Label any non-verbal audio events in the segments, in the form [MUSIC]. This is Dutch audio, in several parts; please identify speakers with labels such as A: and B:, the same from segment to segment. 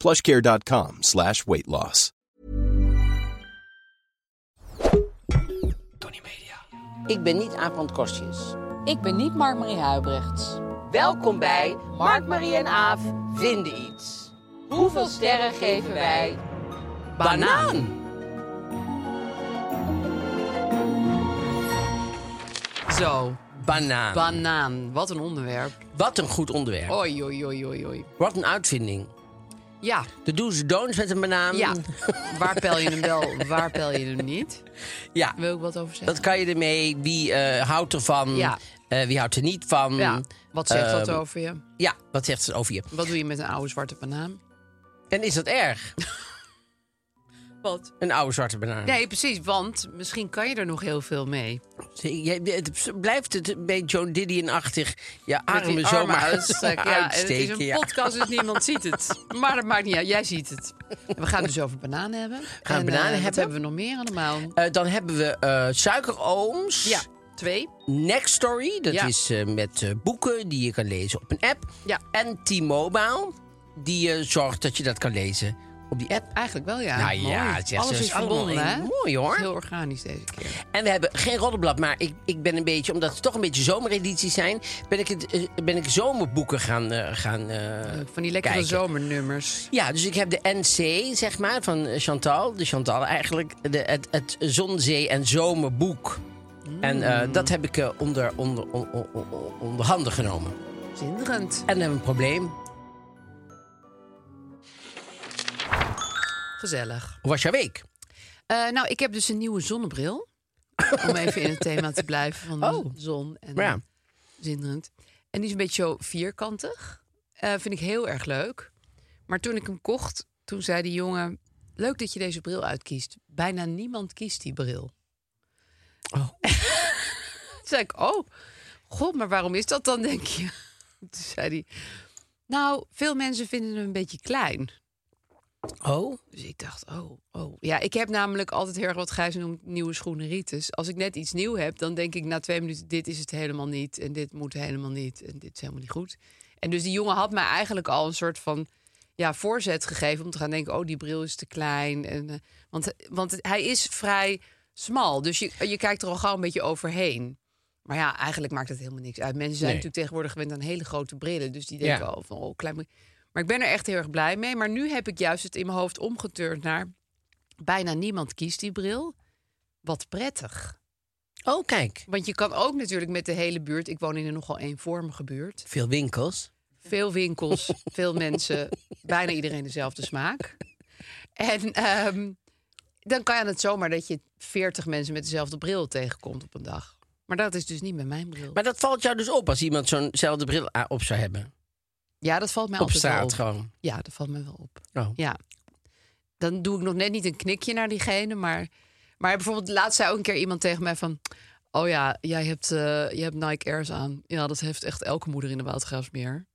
A: plushcare.com slash weight loss.
B: Tony Media.
C: Ik ben niet Aaf Kostjes.
D: Ik ben niet Mark-Marie Huibrechts.
C: Welkom bij Mark, Marie en Aaf vinden iets. Hoeveel sterren geven wij? Banaan!
D: Zo,
C: Banaan.
D: banaan. Wat een onderwerp.
C: Wat een goed onderwerp.
D: Oi, oi, oi, oi, oi.
C: Wat een uitvinding.
D: Ja,
C: De do's en don'ts met een banaan.
D: ja. waar pel je hem wel, waar pel je hem niet?
C: ja.
D: Wil ik wat over zeggen?
C: Dat kan je ermee. Wie eh, houdt ervan?
D: Ja.
C: Eh, wie houdt er niet van?
D: ja. Wat zegt dat
C: Ehm,
D: over je?
C: Ja, wat zegt ze over je?
D: Wat doe je met een oude zwarte banaan?
C: En is dat erg?
D: Wat?
C: Een oude zwarte banaan.
D: Nee, precies, want misschien kan je er nog heel veel mee.
C: Zie je, Het blijft het een beetje Joan Didion-achtig. Je
D: Met die
C: armen zomaar
D: uitstrekken, Ja, en het is
C: uitsteken.
D: een
C: ja.
D: podcast, dus niemand ziet het. Maar dat maakt niet uit, jij ziet het. En we gaan het dus over bananen hebben. We
C: gaan bananen
D: Wat
C: hebben.
D: hebben we nog meer allemaal?
C: Eh, dan hebben we eh suikerooms.
D: Ja, twee.
C: Next Story. Dat
D: Ja.
C: is eh, met eh, boeken die je kan lezen op een app.
D: Ja.
C: En T-Mobile, die eh, zorgt dat je dat kan lezen op die app.
D: Eigenlijk wel, ja.
C: Nou
D: Mooi.
C: ja, het is-
D: alles
C: het is
D: is
C: allemaal
D: verbonden, hè?
C: in- mooi, hoor.
D: Het is Heel organisch deze keer.
C: En we hebben geen roddelblad, maar ik, ik ben een beetje, omdat het toch een beetje zomeredities zijn, ben ik, het, eh, ben ik zomerboeken gaan, eh, gaan eh,
D: Van die lekkere
C: kijken.
D: zomernummers.
C: Ja, dus ik heb de NC, zeg maar, van eh, Chantal. De Chantal eigenlijk, de, het, het Zon, Zee en Zomerboek.
D: Mm.
C: En eh, dat heb ik eh, onder, onder, on- on- on- onder handen genomen.
D: Zinderend.
C: En dan hebben we een probleem.
D: Gezellig.
C: Hoe was jouw week?
D: Eh, nou, ik heb dus een nieuwe [LAUGHS] zonnebril. Om even in het thema te blijven van de
C: Oh.
D: zon. En
C: Maar ja.
D: Zinderend. En die is een beetje zo vierkantig. Eh, vind ik heel erg leuk. Maar toen ik hem kocht, toen zei die jongen... Leuk dat je deze bril uitkiest. Bijna niemand kiest die bril.
C: Oh.
D: [LAUGHS] Toen zei ik, oh, god, maar waarom is dat dan, denk je? [LAUGHS] Toen zei hij, nou, veel mensen vinden hem een beetje klein.
C: Oh,
D: Dus ik dacht, oh, oh. Ja, ik heb namelijk altijd heel erg wat Gijs noemt nieuwe schoenenritis. Als ik net iets nieuw heb, dan denk ik na twee minuten... dit is het helemaal niet en dit moet helemaal niet en dit is helemaal niet goed. En dus die jongen had mij eigenlijk al een soort van ja, voorzet gegeven... om te gaan denken, oh, die bril is te klein. En, eh, want, want hij is vrij smal, dus je, je kijkt er al gauw een beetje overheen. Maar ja, eigenlijk maakt het helemaal niks uit. Mensen zijn
C: Nee.
D: natuurlijk tegenwoordig gewend aan hele grote brillen. Dus die denken
C: Ja.
D: al van, oh, klein bril. Maar ik ben er echt heel erg blij mee. Maar nu heb ik juist het in mijn hoofd omgeturnd naar... bijna niemand kiest die bril. Wat prettig.
C: oh kijk.
D: Want je kan ook natuurlijk met de hele buurt... Ik woon in een nogal eenvormige buurt.
C: Veel winkels.
D: Veel
C: [LAUGHS]
D: winkels, veel mensen, bijna iedereen dezelfde smaak. En ehm, dan kan je het zomaar dat je 40 mensen met dezelfde bril tegenkomt op een dag. Maar dat is dus niet met mijn bril.
C: Maar dat valt jou dus op als iemand zo'nzelfde bril ah, op zou hebben.
D: ja, dat valt mij
C: op
D: altijd wel
C: straat
D: op.
C: gewoon.
D: Ja, dat valt mij wel op.
C: Oh.
D: Ja. Dan doe ik nog net niet een knikje naar diegene, maar... Maar bijvoorbeeld laatst zei ook een keer iemand tegen mij van... Oh ja, jij hebt, eh, je hebt Nike Airs aan. Ja, dat heeft echt elke moeder in de Watergraafsmeer.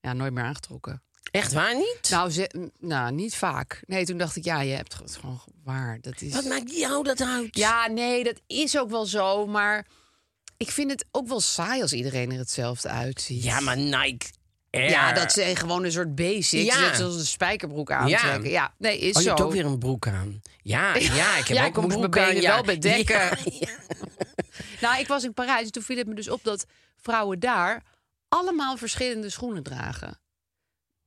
D: Ja, nooit meer aangetrokken.
C: Echt waar niet?
D: Nou, ze- m, nou, niet vaak. Nee, toen dacht ik, ja, je hebt het gewoon waar. Dat is...
C: Wat maakt jou dat uit?
D: Ja, nee, dat is ook wel zo, maar... Ik vind het ook wel saai als iedereen er hetzelfde uitziet.
C: Ja, maar Nike Air.
D: Ja, dat ze gewoon een soort basic.
C: Ja.
D: Net zoals een spijkerbroek aantrekken. Ja, nee, is
C: Oh, je
D: zo.
C: hebt ook weer een broek aan. [LAUGHS] Ja, ja, ik heb
D: Ja,
C: ook
D: ik
C: een
D: moest
C: broek
D: mijn benen
C: aan, ja.
D: wel bedekken.
C: Ja, [LAUGHS] ja.
D: Nou, ik was in Parijs en toen viel het me dus op dat vrouwen daar allemaal verschillende
C: [LAUGHS]
D: schoenen dragen.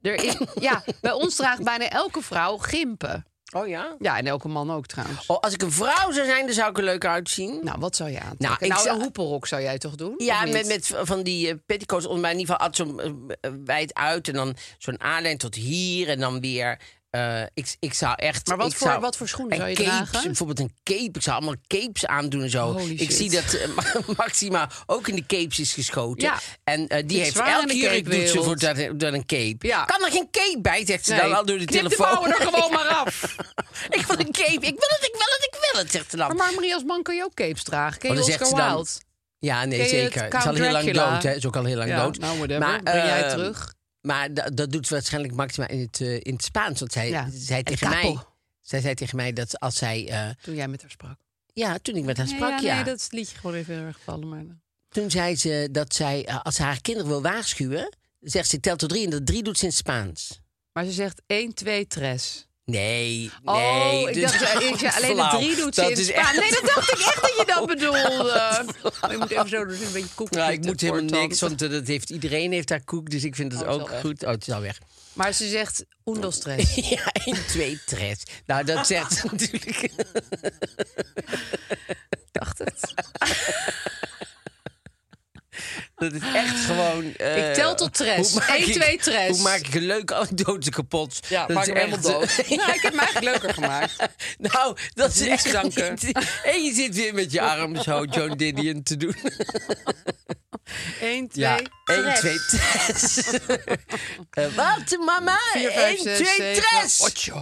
D: Er is, ja, bij ons draagt bijna elke vrouw gimpen.
C: Oh ja?
D: Ja, en elke man ook trouwens.
C: Oh, als ik een vrouw zou zijn, dan zou ik er leuk uitzien.
D: Nou, wat zou je aantrekken? Nou,
C: ik zou-
D: een hoepelrok zou jij toch doen?
C: Ja,
D: Of niet?
C: met, met v- van die eh, petticoats onder mij. In ieder geval at zo'n eh, eh, wijd uit en dan zo'n aanlijn tot hier en dan weer. eh, ik, ik zou echt.
D: Maar wat
C: ik
D: voor-
C: zou-
D: wat voor schoenen
C: en
D: zou je
C: capes,
D: dragen?
C: Bijvoorbeeld een cape. Ik zou allemaal capes aandoen en zo.
D: Holy
C: ik
D: shit.
C: zie dat eh, Ma- [LAUGHS] Maxima ook in de capes is geschoten.
D: Ja.
C: En eh, die
D: is
C: heeft
D: zwaar in
C: elke
D: de
C: jurk doet ze
D: capewereld.
C: voor dat, eh, dat een cape.
D: Ja.
C: Kan er geen cape bij, zegt ze
D: Nee,
C: dan al door Nou, de
D: knip de
C: telefoon.
D: mouwen er gewoon
C: Ja.
D: maar af.
C: [LAUGHS] ik wil een cape. Ik wil het, ik wil het, ik wil het, zegt ze dan.
D: Maar, maar Marie, als man kan je ook capes dragen. Ken
C: Oh,
D: je
C: dan zegt
D: Oscar
C: ze dan-
D: Wilde?
C: Ja, nee,
D: Ken je het
C: zeker. Het is al
D: Count
C: heel lang
D: Dracula?
C: dood. Hè. Het is ook al heel lang
D: Ja,
C: dood. ehm,
D: nou, whatever. Breng jij het terug?
C: Maar da- dat doet waarschijnlijk Maxima in het, eh, in het Spaans. Want zij
D: Ja.
C: zei
D: El
C: tegen mij...
D: capo.
C: Zij zei tegen mij dat als zij... eh,
D: Toen jij met haar sprak.
C: ja, toen ik met haar sprak, ja.
D: nee, dat is het liedje gewoon even heel erg gevallen. Maar...
C: Toen zei ze dat zij, eh, als ze haar kinderen wil waarschuwen... zegt ze, tel tot drie en dat drie doet ze in het Spaans.
D: maar ze zegt 1, 2, tres.
C: Nee,
D: Oh,
C: nee.
D: ik
C: dit
D: dacht,
C: is
D: eh, ik zei,
C: ook
D: alleen de
C: flauw.
D: drie doet ze
C: Dat
D: in
C: is
D: Spaans.
C: echt-
D: Nee,
C: [LAUGHS]
D: dat dacht ik echt dat je dat bedoelde. Maar je moet even zo doen, een beetje koekjes.
C: Ja, Nou, ik
D: met
C: moet
D: de
C: helemaal
D: voortand.
C: niks, want eh, dat heeft, iedereen heeft haar koek. Dus ik vind het
D: Oh, het is
C: ook
D: al weg.
C: goed. Oh, het is al weg. [LAUGHS]
D: Maar ze zegt oendos tres.
C: Ja, in twee tres. Nou, dat zegt
D: [LAUGHS]
C: ze natuurlijk.
D: dacht het.
C: Dat is echt gewoon... eh,
D: Ik tel tot tres.
C: hoe maak
D: Eén,
C: ik-
D: twee, tres.
C: Hoe maak ik een leuke anekdote kapot?
D: [LAUGHS] Ja,
C: dat
D: maak
C: is
D: hem helemaal
C: echt- [LAUGHS]
D: [LAUGHS] dood. Nou, ik heb hem eigenlijk leuker gemaakt.
C: nou, dat is
D: Niets
C: echt
D: danken.
C: niet- [LAUGHS] En je zit weer met je arm zo John Didion te doen.
D: 1, 2,
C: Ja, één, twee, tres.
D: [LAUGHS]
C: Eh, Wat, mama?
D: 4, 5,
C: Eén,
D: 6,
C: twee,
D: 7,
C: tres. [LAUGHS]
D: Ja,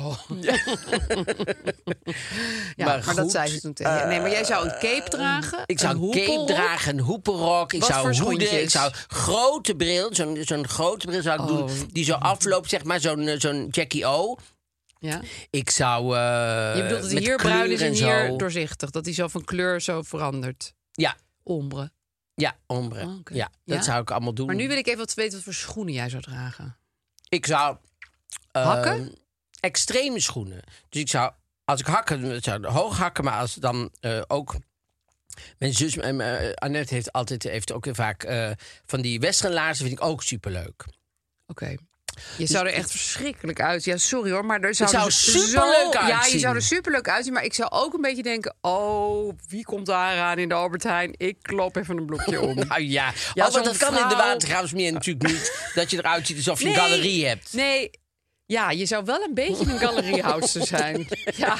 C: Maar
D: maar,
C: goed, eh,
D: dat zei ze toen tegen je. Nee, maar jij zou een cape dragen.
C: Ik zou een cape
D: hoepelrok.
C: dragen, een hoepenrok. Ik
D: Wat
C: zou
D: voor
C: hoeden.
D: schoentjes? Oh.
C: Ik zou grote bril. Zo'n zo'n grote bril zou ik doen. Die zo afloopt, zeg maar. Zo'n eh, zo'n Jackie O.
D: Ja.
C: Ik zou. eh,
D: Je bedoelt dat hij
C: met
D: hier bruin
C: kleur
D: is en
C: zo.
D: hier doorzichtig. Dat hij zo van kleur zo verandert.
C: Ja,
D: Ombre.
C: ja, ombre.
D: Oh, oké.
C: ja, dat
D: Ja?
C: zou ik allemaal doen.
D: Maar nu wil ik even wat weten wat voor schoenen jij zou dragen.
C: Ik zou. eh,
D: Hakken?
C: Extreme schoenen. Dus ik zou. Als ik hakken, het zou hoog hakken, maar als dan eh, ook. Mijn zus, mijn, eh, Annette, heeft altijd heeft ook heel vaak eh, van die westernlaarzen. Vind ik ook superleuk. [LAUGHS]
D: Oké. Je zou er echt verschrikkelijk uit. Ja, sorry hoor, maar er zou,
C: Dus zou
D: er
C: superleuk
D: zo- Ja, je
C: uitzien.
D: zou er superleuk uitzien. Maar ik zou ook een beetje denken... Oh, wie komt daar aan in de Albert Heijn? Ik klop even een
C: [LAUGHS]
D: blokje om.
C: Nou ja,
D: Ja,
C: als
D: zo'n
C: dat kan in de
D: vrouw-
C: [LAUGHS] Watergraafsmeer natuurlijk niet. dat je eruit ziet alsof je een
D: Nee.
C: galerie hebt.
D: Nee, ja, je zou wel een beetje een
C: [LAUGHS]
D: galeriehoudster zijn. Ja.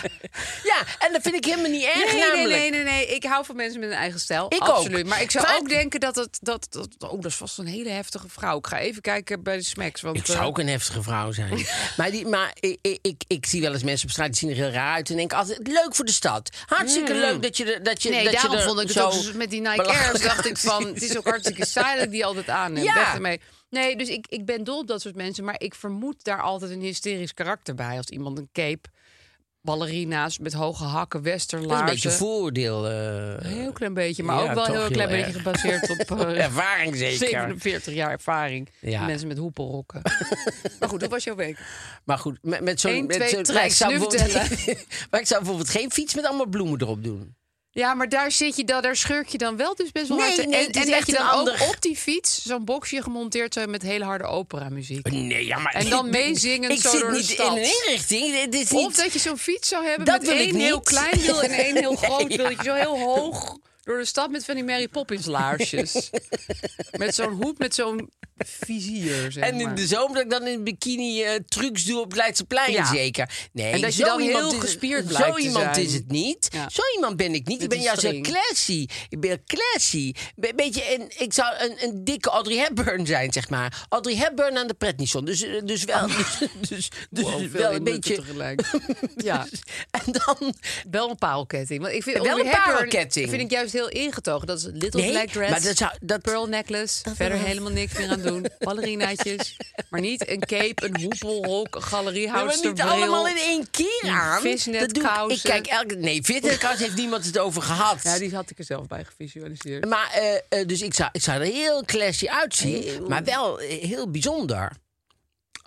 C: Ja, en dat vind ik helemaal niet erg
D: Nee, nee,
C: namelijk.
D: nee, nee, nee. Ik hou van mensen met een eigen stijl.
C: Ik
D: Absoluut.
C: ook.
D: Maar ik zou
C: Vaak-
D: ook denken dat het... Dat, dat, oh, dat is vast een hele heftige vrouw. Ik ga even kijken bij de smacks. Want,
C: Ik zou
D: eh,
C: ook een heftige vrouw zijn. [LAUGHS] maar die, maar ik, ik, ik, ik zie wel eens mensen op straat die zien er heel raar uit. En denk altijd, leuk voor de stad. Hartstikke leuk dat je er dat je,
D: Nee,
C: dat
D: daarom
C: je er
D: vond ik het
C: zo
D: ook dus met die Nike Airs.
C: belachelijk
D: Dacht ik van,
C: uitziet.
D: het is ook
C: [LAUGHS]
D: hartstikke saai dat ik die altijd aan heb.
C: Ja.
D: Weg ermee. Nee, dus ik, ik ben dol op dat soort mensen. Maar ik vermoed daar altijd een hysterisch karakter bij. Als iemand een cape, ballerina's met hoge hakken,
C: Dat is
D: westerlaarzen.
C: een beetje vooroordeel.
D: Een
C: eh
D: heel klein beetje, maar
C: Ja,
D: ook wel
C: toch
D: heel
C: heel
D: klein
C: erg.
D: beetje gebaseerd op
C: [LAUGHS]
D: eh,
C: ervaring zeker.
D: 47 jaar ervaring.
C: Ja.
D: Mensen met
C: [LAUGHS]
D: hoepelrokken. maar goed, dat was jouw week.
C: Maar goed, met, met zo'n...
D: Eén,
C: met
D: twee,
C: zo'n-
D: tres,
C: maar ik zou
D: nu
C: bijvoorbeeld- [LAUGHS] Maar ik zou bijvoorbeeld geen fiets met allemaal bloemen erop doen.
D: Ja, maar daar zit je dan, daar schurk je dan wel dus best wel
C: Nee,
D: hard.
C: nee,
D: en
C: het is
D: en dat
C: echt
D: je
C: een
D: dan
C: ander-
D: ook op die fiets zo'n boxje gemonteerd zijn met hele harde operamuziek.
C: Nee, ja, maar...
D: En dan meezingend
C: ik
D: zo
C: zit
D: door de
C: niet in
D: stad.
C: een inrichting. Dit is
D: Of
C: niet...
D: dat je zo'n fiets zou hebben
C: Dat
D: met
C: wil ik
D: één heel
C: niet.
D: klein wiel en één
C: [LAUGHS]
D: heel groot
C: Nee,
D: wiel. Dat je zo heel hoog door de stad met van die Mary Poppins laarsjes. met zo'n hoed, met zo'n vizier, zeg
C: En in
D: maar.
C: de zomer dat ik dan in bikini eh, trucs doe op het Leidseplein,
D: Ja.
C: zeker. Nee,
D: En dat je
C: zo
D: dan
C: iemand
D: heel
C: is-
D: gespierd
C: Zo
D: blijkt te
C: iemand
D: zijn.
C: is het niet.
D: Ja.
C: Zo iemand ben ik niet. Ik
D: Met
C: ben
D: een
C: juist heel
D: string.
C: classy. Ik ben classy. Be beetje een, ik zou een, een dikke Audrey Hepburn zijn, zeg maar. Audrey Hepburn aan de pretnison. Dus, eh, dus wel, dus, [LAUGHS] dus, dus
D: Oh. Wow, veel
C: wel een
D: indrukken
C: beetje... [LAUGHS]
D: tegelijk. ja,
C: En dan...
D: wel een parelketting. Want ik vind
C: Wel een
D: Audrey Hepburn
C: parelketting.
D: Vind ik juist heel ingetogen. Dat is little
C: Nee,
D: black dress.
C: maar dat zou... Dat,
D: Pearl necklace, verder helemaal niks meer aan
C: [LAUGHS]
D: doen. Ballerinaatjes, maar niet een cape, een hoepelrok, een
C: Nee, maar
D: galeriehoudsterbril.
C: niet allemaal in één keer
D: die
C: aan. dat doe ik. ik
D: visnetkousen.
C: kijk elke... Nee, fitnesskous heeft niemand het over gehad.
D: Ja, die had ik er zelf bij gevisualiseerd.
C: Maar, eh, eh, dus ik zou, ik zou er heel classy uitzien, maar wel eh, heel bijzonder.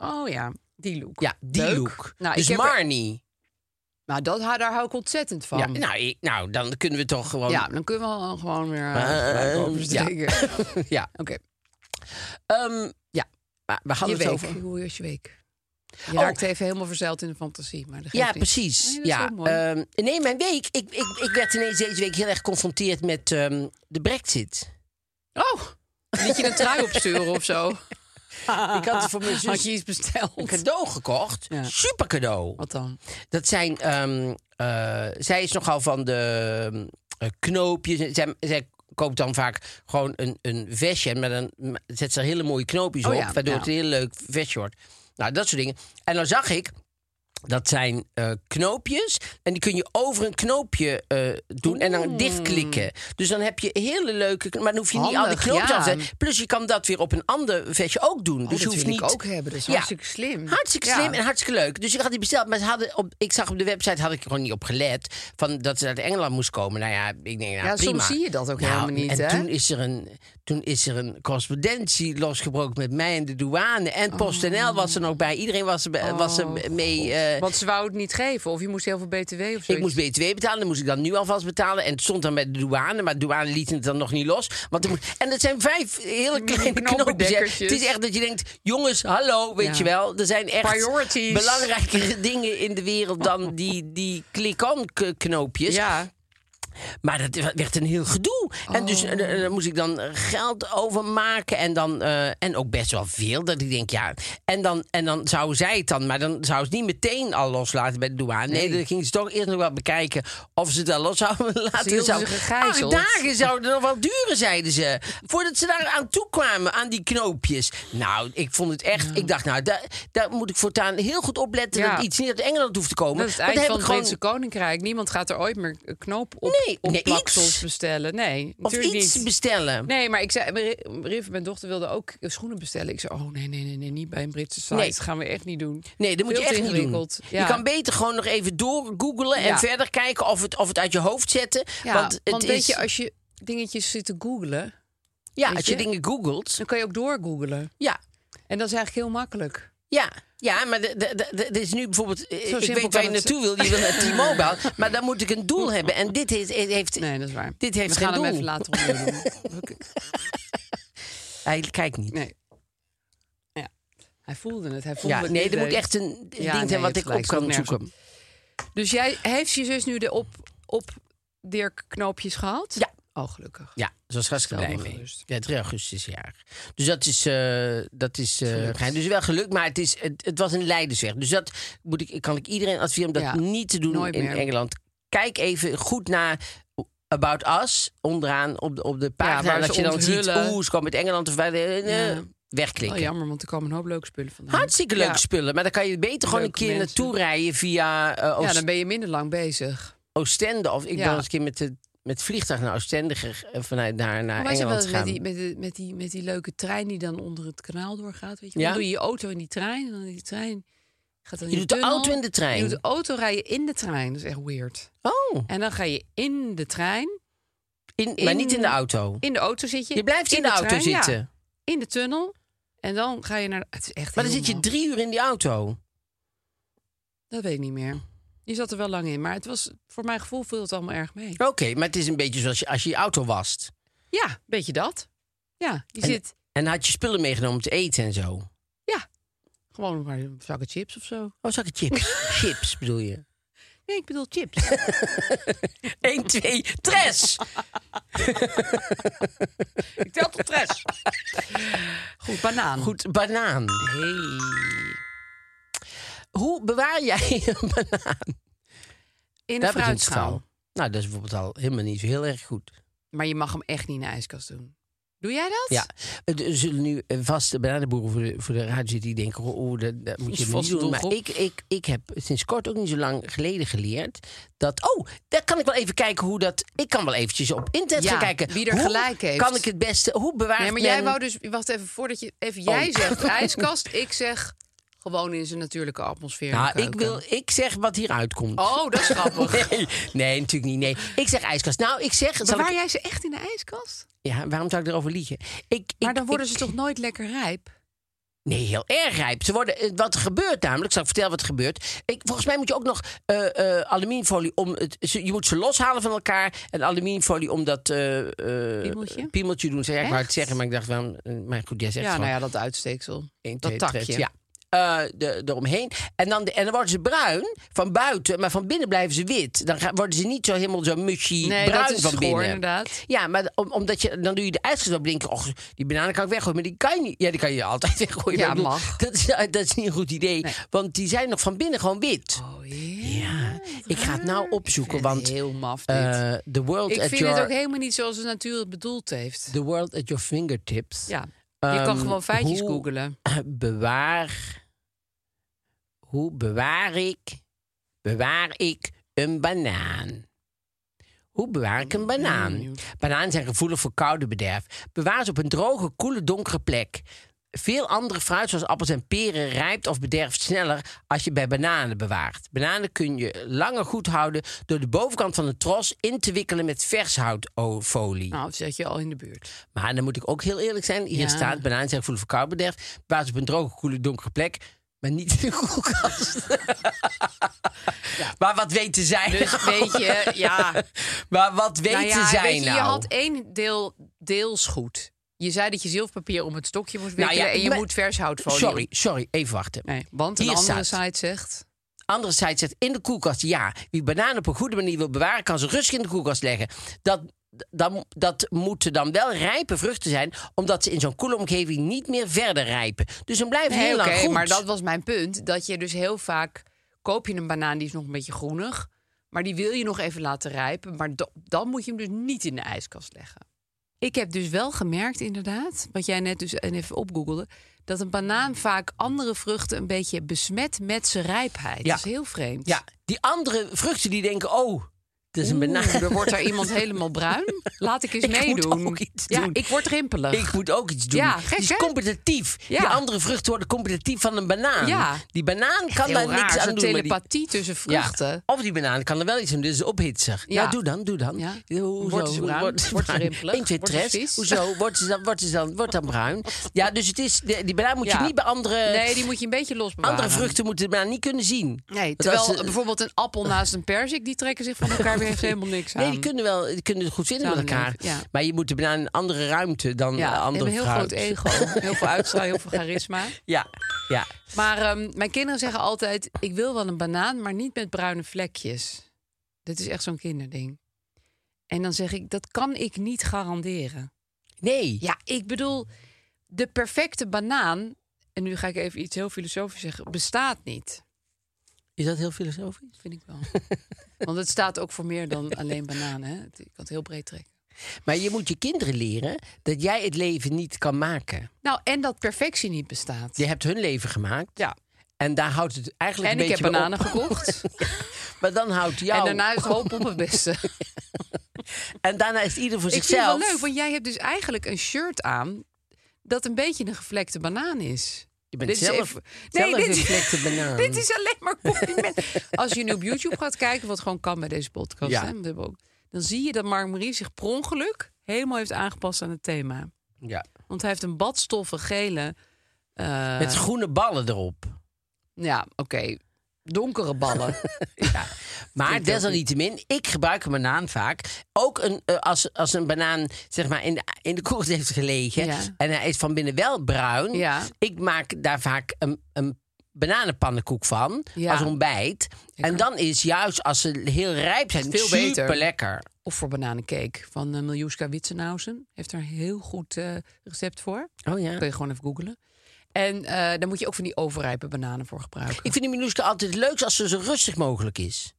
D: Oh ja, die look.
C: Ah. Ja, die
D: Leuk.
C: look.
D: Nou,
C: dus
D: ik heb er-
C: Marnie.
D: Nou, dat, daar hou ik ontzettend van.
C: Ja,
D: Ja,
C: nou, ik- nou, dan kunnen we toch gewoon...
D: dan kunnen we al- gewoon weer eh,
C: Eh,
D: gelijk
C: ja.
D: oversteken.
C: [LAUGHS] ja.
D: Oké,
C: Ehm, ja. Maar we
D: je
C: hadden het
D: week.
C: over... Oh.
D: Hoe was je week? Je raakt even helemaal verzeild in de fantasie. Maar dat geeft
C: Ja,
D: niet.
C: precies.
D: Nee, dat is
C: ja.
D: heel mooi.
C: ehm, nee, mijn week. Ik, ik, ik werd ineens deze week heel erg geconfronteerd met ehm, de brexit.
D: Oh, liet je een trui opsturen of
C: [LAUGHS]
D: zo?
C: Ik had voor mijn
D: Ah. Had
C: zus
D: je iets
C: een
D: besteld?
C: cadeau gekocht.
D: Ja.
C: Super cadeau.
D: Wat dan? Oh,
C: Dat zijn, ehm, eh, zij is nogal van de ehm, eh, knoopjes. Zij, zij koopt dan vaak gewoon een, een vestje. En met een, zet ze er hele mooie knoopjes
D: Oh
C: op.
D: ja,
C: waardoor
D: ja.
C: het een heel leuk vestje wordt. Nou, dat soort dingen. En dan zag ik, dat zijn eh, knoopjes. En die kun je over een knoopje eh, doen en dan dichtklikken. Dus dan heb je hele leuke... kn- Maar dan hoef je niet al die
D: Handig,
C: knoopjes
D: ja. Oh,
C: af te zetten. Plus je kan dat weer op een ander vestje ook doen. dus
D: dat
C: je hoeft
D: wil
C: niet...
D: ik ook hebben. Dat is
C: Ja.
D: hartstikke slim.
C: Hartstikke
D: Ja.
C: slim en hartstikke leuk. Dus ik had die besteld. Maar ze hadden op, ik zag op de website, had ik er gewoon niet op gelet... Van dat ze uit Engeland moest komen. Nou ja, ik denk, nou,
D: Ja,
C: prima.
D: soms zie je dat ook
C: Nou,
D: helemaal niet,
C: En
D: hè?
C: toen is, er een, toen is er een correspondentie losgebroken met mij en de douane. En PostNL was er nog bij. Iedereen was er, bij- was er mee... eh,
D: Oh, Want ze wou het niet geven. Of je moest heel veel BTW of zoiets.
C: ik moest BTW betalen, dan moest ik dan nu alvast betalen. En het stond dan bij de douane, maar de douane liet het dan nog niet los. Want er moet... En dat zijn vijf hele kleine knoopjes. hè.
D: knoopendekkertjes.
C: Het is echt dat je denkt, jongens, hallo, weet
D: Ja.
C: je wel. Er zijn echt
D: Priorities.
C: belangrijkere [LAUGHS] dingen in de wereld dan die, die klik-on-knoopjes.
D: Ja.
C: Maar dat werd een heel gedoe. En dus eh,
D: Oh.
C: eh, daar moest ik dan eh, geld overmaken. En, dan, eh, en ook best wel veel. Dat ik denk, ja. En dan, en dan zou zij het dan. Maar dan zou ze het niet meteen al loslaten bij de douane. Nee, dan ging ze toch eerst nog wel bekijken. of ze het al los zouden laten.
D: hielden
C: Zou-
D: ze gegijzeld.
C: Acht dagen zouden nog wel duren, zeiden ze. Voordat ze daar aan toe kwamen, aan die knoopjes. Nou, ik vond het echt. Ik dacht, nou, daar, daar moet ik voortaan heel goed opletten.
D: Ja.
C: dat iets niet uit Engeland hoeft te komen.
D: Dat is het
C: Want
D: eind
C: dan
D: van het
C: heb ik
D: Britse Koninkrijk. Niemand gaat er ooit meer een knoop op,
C: Nee,
D: op
C: nee,
D: plaksels
C: iets.
D: bestellen. Nee,
C: Of
D: natuurlijk
C: iets
D: niet.
C: bestellen.
D: Nee, maar ik zei, Ri- Riff, mijn dochter wilde ook schoenen bestellen. Ik zei, oh nee, nee, nee, nee niet bij een Britse site.
C: Nee.
D: Dat gaan we echt niet doen.
C: Nee, dat moet
D: Veel
C: je echt
D: te
C: niet doen.
D: ingewikkeld. Ja.
C: Je kan beter gewoon nog even door googlen en
D: Ja.
C: verder kijken of het, of het uit je hoofd zetten.
D: Ja,
C: want het
D: weet
C: is,
D: je, als je dingetjes zit te googlen,
C: ja,
D: weet
C: als je
D: je-
C: dingen googelt.
D: dan kan je ook doorgoogelen.
C: Ja,
D: En dat is eigenlijk heel makkelijk.
C: ja, ja maar de- de- de- de- er is nu bijvoorbeeld. eh,
D: Zo
C: Ik
D: simpel
C: weet
D: kan
C: waar je
D: het
C: naartoe wil. Je wil
D: [LAUGHS]
C: naar T-Mobile. maar dan moet ik een doel hebben. En dit heeft. heeft
D: Nee, dat is waar.
C: Dit heeft
D: we
C: geen
D: gaan hem
C: doel.
D: even later
C: [LAUGHS]
D: opnieuw doen. We-
C: Hij kijkt niet.
D: Nee. Ja. Hij voelde het. Hij voelde
C: Ja,
D: het
C: nee,
D: niet
C: er moet
D: leuk.
C: echt een een
D: nee,
C: ding
D: je
C: zijn wat
D: hebt
C: ik op
D: gelijk,
C: kan
D: het slaat nergens
C: zoeken.
D: Dus jij heeft je zus nu de op, op Dirk knoopjes gehad?
C: Ja.
D: Oh, gelukkig.
C: Ja, ze was hartstikke
D: Stel
C: blij
D: me
C: mee.
D: gerust.
C: Ja, 3 augustus jaar. Dus dat is, eh, dat is eh, geheim. Dus wel geluk, maar het, is, het, het was een leidersweg. Dus dat moet ik, kan ik iedereen adviseren om dat
D: Ja,
C: niet te doen
D: nooit
C: in
D: meer.
C: Engeland. Kijk even goed naar About Us, onderaan op de, op de pagina.
D: waar
C: dat
D: ze
C: je dan ziet,
D: onthullen.
C: oeh, ze komen uit Engeland of bij de... eh,
D: Ja.
C: Wegklikken.
D: Oh, jammer, want er komen een hoop leuke spullen vandaan.
C: Hartstikke leuke
D: Ja.
C: spullen, maar dan kan je beter gewoon
D: Leuke
C: een keer
D: mensen.
C: naartoe rijden via eh, Oost-
D: Ja, dan ben je minder lang bezig.
C: Oostende. Of ik
D: Ja.
C: ben eens een keer met, de, met het vliegtuig naar Oostende ge- eh, vanuit daar naar
D: Maar
C: Engeland
D: wel met
C: gegaan.
D: die, met, die, met, die, met die leuke trein die dan onder het kanaal doorgaat. Weet je? wel?
C: Ja.
D: Dan doe je je auto in die trein. En dan die trein gaat dan in
C: Je
D: die
C: doet de
D: tunnel.
C: auto in de trein.
D: Je doet de auto rijden in de trein. Dat is echt weird.
C: Oh,
D: En dan ga je in de trein.
C: in, maar niet in de auto.
D: In de auto zit je.
C: Je blijft in, de, auto
D: trein, ja.
C: zitten.
D: in de tunnel. En dan ga je naar. Het is echt
C: Maar dan
D: heel
C: zit je
D: mal.
C: drie uur in die auto.
D: Dat weet ik niet meer. Je zat er wel lang in, maar het was voor mijn gevoel viel het allemaal erg mee.
C: Oké, maar het is een beetje zoals je, als je je auto wast.
D: Ja, weet je dat? Ja, je
C: En-
D: zit
C: En had je spullen meegenomen om te eten en zo.
D: gewoon maar een zakken chips of zo.
C: Oh, zakken chips. chips bedoel je. [LAUGHS]
D: Nee, ik bedoel chips.
C: 1, 2, tres!
D: ik tel tot tres. Goed, banaan.
C: Goed, banaan.
D: Hey.
C: Hoe bewaar jij een banaan?
D: In
C: [LAUGHS]
D: een
C: Daar begint het
D: fruitschaal.
C: al. Nou, dat is bijvoorbeeld al helemaal niet zo heel erg goed.
D: Maar je mag hem echt niet in de ijskast doen. Doe jij dat?
C: Ja, er zullen nu eh, vast bananenboeren voor de, voor de radio zitten die denken, oh, oh, dat, dat moet je
D: Is
C: niet
D: vast
C: doen.
D: een
C: Maar ik,
D: doelgroep.
C: ik, ik heb sinds kort ook niet zo lang geleden geleerd dat, oh, daar kan ik wel even kijken hoe dat, ik kan wel eventjes op internet
D: Ja,
C: gaan kijken.
D: wie er
C: hoe
D: gelijk heeft.
C: kan ik het beste, hoe bewaar
D: Nee, maar
C: men-
D: jij wou dus, wacht even, voordat je, even jij zegt ijskast, ik zeg gewoon in zijn natuurlijke atmosfeer. in de
C: Nou, ik,
D: keuken.
C: wil, ik zeg wat hieruit komt.
D: Oh, dat is grappig.
C: [LAUGHS] Nee, nee, natuurlijk niet. Nee. Ik zeg ijskast. Nou, ik zeg... Zal
D: Bewaar
C: ik,
D: jij ze echt in de ijskast?
C: ja, waarom zou ik erover liegen? Ik,
D: Maar
C: ik-
D: dan worden
C: ik-
D: ze toch nooit lekker rijp?
C: Nee, heel erg rijp. Ze worden, eh, wat er gebeurt namelijk, zal ik vertellen wat er gebeurt. Ik, volgens mij moet je ook nog eh, eh, aluminiumfolie om... Het, ze- je moet ze loshalen van elkaar. En aluminiumfolie om dat eh, eh,
D: Piemeltje?
C: piemeltje doen. Zeg, ik wou het
D: Echt?
C: zeggen, maar ik dacht, waarom, eh, maar goed, jij zegt
D: Ja,
C: gewoon
D: nou ja, dat uitsteeksel.
C: één,
D: dat
C: twee,
D: takje.
C: drie, ja. eh, de, eromheen. En dan, de- en dan worden ze bruin van buiten, maar van binnen blijven ze wit. Dan gaan, worden ze niet zo helemaal zo mushy
D: Nee,
C: bruin
D: dat is
C: van
D: schoor,
C: binnen.
D: inderdaad.
C: Ja, maar om- omdat je, dan doe je de ijsjes wel blinken. Och, die bananen kan ik weggooien, maar die kan je niet. Ja, die kan je altijd [LAUGHS] weggooien.
D: Ja,
C: maar ik bedoel,
D: mag.
C: Dat is, eh, dat is niet een goed idee, want die zijn nog van binnen gewoon wit.
D: Oh, ja.
C: ik ga het nou opzoeken,
D: vind het
C: want
D: heel maf dit.
C: eh, the world
D: Ik
C: at
D: vind
C: your
D: het ook helemaal niet zoals de natuur het bedoeld heeft.
C: the world at your fingertips.
D: Ja, je kan
C: Dus, Ehm,
D: gewoon feitjes
C: hoe-
D: googelen.
C: [CLEARS THROAT] bewaar. Hoe bewaar ik? Bewaar ik een banaan? Hoe bewaar ik een banaan? Bananen zijn gevoelig voor koude bederf. Bewaar ze op een droge, koele, donkere plek. Veel andere fruit, zoals appels en peren, rijpt of bederft sneller als je bij bananen bewaart. Bananen kun je langer goed houden door de bovenkant van een tros in te wikkelen met vershoutfolie.
D: Nou, of zet je al in de buurt.
C: Maar dan moet ik ook heel eerlijk zijn. Hier
D: Ja.
C: staat, bananen zijn gevoelig voor koudbederf. Basis op een droge, koele, donkere plek. Maar niet in de
D: [LAUGHS]
C: koelkast. Maar wat weten zij
D: Dus
C: nou?
D: [LAUGHS] weet je, ja.
C: [LAUGHS] Maar wat weten
D: nou ja,
C: zij
D: weet je,
C: nou?
D: je had één deel deels goed. Je zei dat je zilverpapier om het stokje moet wikkelen
C: Nou ja,
D: en je
C: maar-
D: moet vershoutfolie.
C: Sorry, sorry, even wachten.
D: Nee, want een
C: Hier
D: andere
C: staat-
D: site zegt...
C: Anderzijds zegt in de koelkast ja. Wie bananen op een goede manier wil bewaren, kan ze rustig in de koelkast leggen. Dat, dat, dat moeten dan wel rijpe vruchten zijn, omdat ze in zo'n koele omgeving niet meer verder rijpen. Dus dan blijven ze
D: Nee,
C: heel
D: oké,
C: lang goed.
D: maar dat was mijn punt. Dat je dus heel vaak koop je een banaan die is nog een beetje groenig. Maar die wil je nog even laten rijpen. Maar da- dan moet je hem dus niet in de ijskast leggen. Ik heb dus wel gemerkt, inderdaad, wat jij net dus en even opgoogelde, dat een banaan vaak andere vruchten een beetje besmet met zijn rijpheid.
C: Ja.
D: Dat is heel vreemd.
C: Ja, die andere vruchten die denken, oh, dat is een banaan.
D: Oeh,
C: [LAUGHS]
D: er wordt daar iemand helemaal bruin. Laat [LAUGHS] ik eens
C: Ik moet
D: meedoen.
C: ook iets
D: ja,
C: doen.
D: ik word rimpelig.
C: Ik moet ook iets doen.
D: Ja, gek,
C: die is
D: hè?
C: competitief.
D: Ja.
C: Die andere vruchten worden competitief van een banaan.
D: Ja.
C: Die banaan kan
D: Heel
C: daar
D: raar,
C: niks
D: zo'n
C: aan doen. maar die-
D: telepathie tussen
C: Ja.
D: vruchten.
C: Of die banaan kan er wel iets aan doen, dus ophitser. Ja,
D: Ja.
C: doe dan, doe dan.
D: Ja.
C: Hoe- hoezo?
D: Wordt ze
C: Hoe-
D: bruin? Wordt ze rimpelig?
C: 1, 2,
D: Wordt ze
C: 3.
D: vies?
C: Hoezo? Wordt ze dan, wordt ze dan, wordt dan
D: [LAUGHS]
C: bruin? Ja, dus het is, de- die banaan moet
D: Ja.
C: je niet bij andere...
D: Nee, die moet je een beetje los bewaren.
C: Eh, andere vruchten moeten de banaan niet kunnen zien.
D: Nee,
C: Want
D: terwijl
C: als ze-
D: bijvoorbeeld een appel naast een perzik, die trekken zich van elkaar weer heeft helemaal niks aan.
C: Nee, die kunnen, wel, die kunnen het goed vinden met
D: Samen
C: elkaar.
D: leven, ja.
C: Maar je moet de banaan in een andere ruimte dan
D: ja,
C: eh,
D: die
C: andere
D: hebben een heel
C: fruit.
D: groot ego, heel veel uitstraling, heel veel charisma.
C: Ja, ja.
D: Maar ehm, mijn kinderen zeggen altijd: ik wil wel een banaan, maar niet met bruine vlekjes. Dat is echt zo'n kinderding. En dan zeg ik: dat kan ik niet garanderen.
C: Nee.
D: Ja, ik bedoel, de perfecte banaan. En nu ga ik even iets heel filosofisch zeggen: bestaat niet.
C: Is dat heel filosofisch?
D: Vind ik
C: [LAUGHS]
D: wel. Want het staat ook voor meer dan alleen bananen. Hè? Ik kan het heel breed trekken.
C: Maar je moet je kinderen leren dat jij het leven niet kan maken.
D: Nou, en dat perfectie niet bestaat.
C: Je hebt hun leven gemaakt.
D: Ja.
C: En daar houdt het eigenlijk
D: En
C: een
D: ik heb
C: beetje
D: bananen
C: bij op.
D: gekocht.
C: Maar dan houdt [LAUGHS] jou...
D: En daarna is hoop op het beste.
C: [LAUGHS] en daarna is ieder voor
D: ik vind
C: zichzelf.
D: het wel leuk, want jij hebt dus eigenlijk een shirt aan... dat een beetje een gevlekte banaan is.
C: Je bent
D: Dit is
C: zelf,
D: even-
C: zelf
D: Nee,
C: een
D: dit-
C: geflekte banaan.
D: [LAUGHS] Dit is alleen maar compliment. [LAUGHS] Als je nu op YouTube gaat kijken, wat gewoon kan bij deze podcast...
C: Ja.
D: Hè, want we hebben ook, dan zie je dat Mark Marie zich per ongeluk... helemaal heeft aangepast aan het thema.
C: Ja.
D: Want hij heeft een badstoffen gele... eh,
C: Met groene ballen erop.
D: ja, oké, donkere
C: [LAUGHS]
D: ballen.
C: Maar
D: Vind ik ook
C: desalniettemin, ik gebruik een banaan vaak. Ook een, eh, als, als een banaan zeg maar, in de, in de koelkast heeft gelegen...
D: Ja.
C: en hij is van binnen wel bruin...
D: Ja.
C: ik maak daar vaak een, een bananenpannenkoek van
D: Ja.
C: als ontbijt. En dan is juist als ze heel rijp zijn
D: Veel beter.
C: super lekker.
D: of voor bananencake van eh, Miljuska Witsenhausen. Heeft daar een heel goed eh, recept voor.
C: Oh ja.
D: Kun je gewoon even googlen. En eh, daar moet je ook van die overrijpe bananen voor gebruiken.
C: Ik vind de Minuska altijd het leukst als ze zo rustig mogelijk is.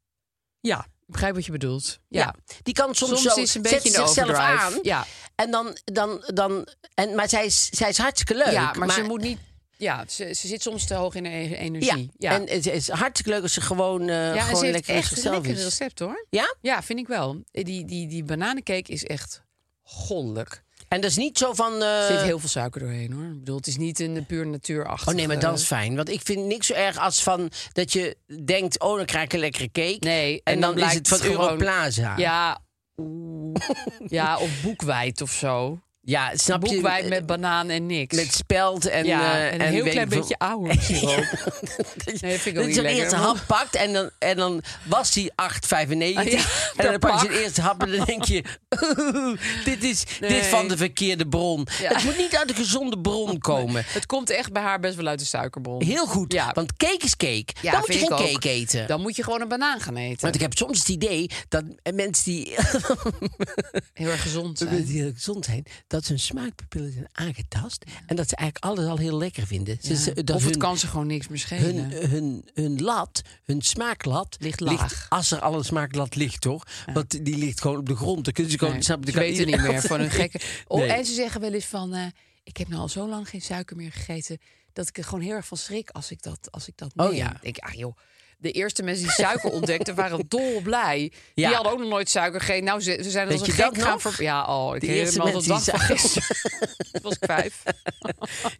D: ja, ik begrijp wat je bedoelt. Ja.
C: Die kan soms,
D: Soms
C: zo
D: is ze een
C: zet
D: beetje in de
C: zichzelf
D: overdrive.
C: aan.
D: Ja.
C: En dan, dan, dan en, maar zij is, zij is hartstikke leuk.
D: ja, maar, ze moet niet... Ja, ze, ze zit soms te hoog in de e-
C: Ja.
D: energie.
C: en het is hartstikke leuk als ze gewoon, eh,
D: Ja, en
C: gewoon
D: ze heeft
C: lekker
D: echt een
C: zichzelf
D: lekker
C: is.
D: recept, hoor.
C: Ja?
D: Ja, vind ik wel. Eh, Die, die, die bananencake is echt goddelijk.
C: En dat is niet zo van. eh,
D: Er zit heel veel suiker doorheen, hoor. Ik bedoel, het is niet een puur natuurachtig...
C: Oh nee, maar dat
D: eh,
C: is fijn. Want ik vind niks zo erg als van dat je denkt: oh, dan krijg ik een lekkere cake.
D: Nee,
C: en, dan, is
D: blijkt
C: het van
D: gewoon-
C: Europlaza.
D: Ja, oeh. ja, of boekwijd of zo.
C: Ja, snap je? Eh,
D: Boekweit met banaan en niks.
C: Met speld en...
D: ja,
C: eh,
D: en een
C: en
D: heel
C: weet
D: klein
C: ik veel-
D: beetje
C: [LAUGHS]
D: ahornsiroop. Nee, vind ik
C: Dat
D: ook niet
C: je de
D: lekker.
C: eerste hap pakt en dan, en dan was die 8,95.
D: Ah, ja,
C: [LAUGHS] en
D: per
C: dan pak je
D: pak.
C: de eerste hap en dan denk je... [LAUGHS] dit is dit
D: Nee.
C: van de verkeerde bron.
D: Ja.
C: Het moet niet uit de gezonde
D: [LAUGHS]
C: bron komen.
D: Het komt echt bij haar best wel uit de suikerbron.
C: Heel goed,
D: Ja.
C: want cake is cake.
D: Ja,
C: dan moet je
D: vind
C: geen
D: ik ook.
C: cake eten.
D: Dan moet je gewoon een banaan gaan eten.
C: Want ik heb soms het idee dat mensen die
D: Heel erg
C: [LAUGHS]
D: gezond
C: Ze willen
D: zijn.
C: heel gezond zijn, dat ze hun smaakpapillen zijn aangetast en dat ze eigenlijk alles al heel lekker vinden. Ze- ze- dat
D: Of
C: hun,
D: het kan ze gewoon niks meer schelen.
C: hun, hun, hun lat, hun smaaklat,
D: Ligt laag.
C: als er al een smaaklat ligt, toch? Want die ligt gewoon op de grond. Dan kunnen ze gewoon.
D: Nee,
C: snap je,
D: ze
C: dan kan
D: weten niet
C: iedereen-
D: [LAUGHS] meer van hun gekke... Oh,
C: Nee.
D: En ze zeggen wel eens van... eh, ik heb nou al zo lang geen suiker meer gegeten... dat ik er gewoon heel erg van schrik als ik dat, als ik dat neem.
C: Oh, ja.
D: Ik denk, ah joh... De eerste mensen die suiker ontdekten [LAUGHS] waren dolblij.
C: Ja,
D: Die hadden ook nog nooit suiker gegeten. Nou, ze, ze zijn als
C: Weet
D: een
C: je
D: gek
C: dat
D: gaan
C: nog?
D: ver... Ja, oh, ik
C: De
D: herinner
C: eerste
D: me al de
C: mensen
D: dag
C: die
D: van
C: suiker-
D: gisteren. [LAUGHS] Toen was ik vijf.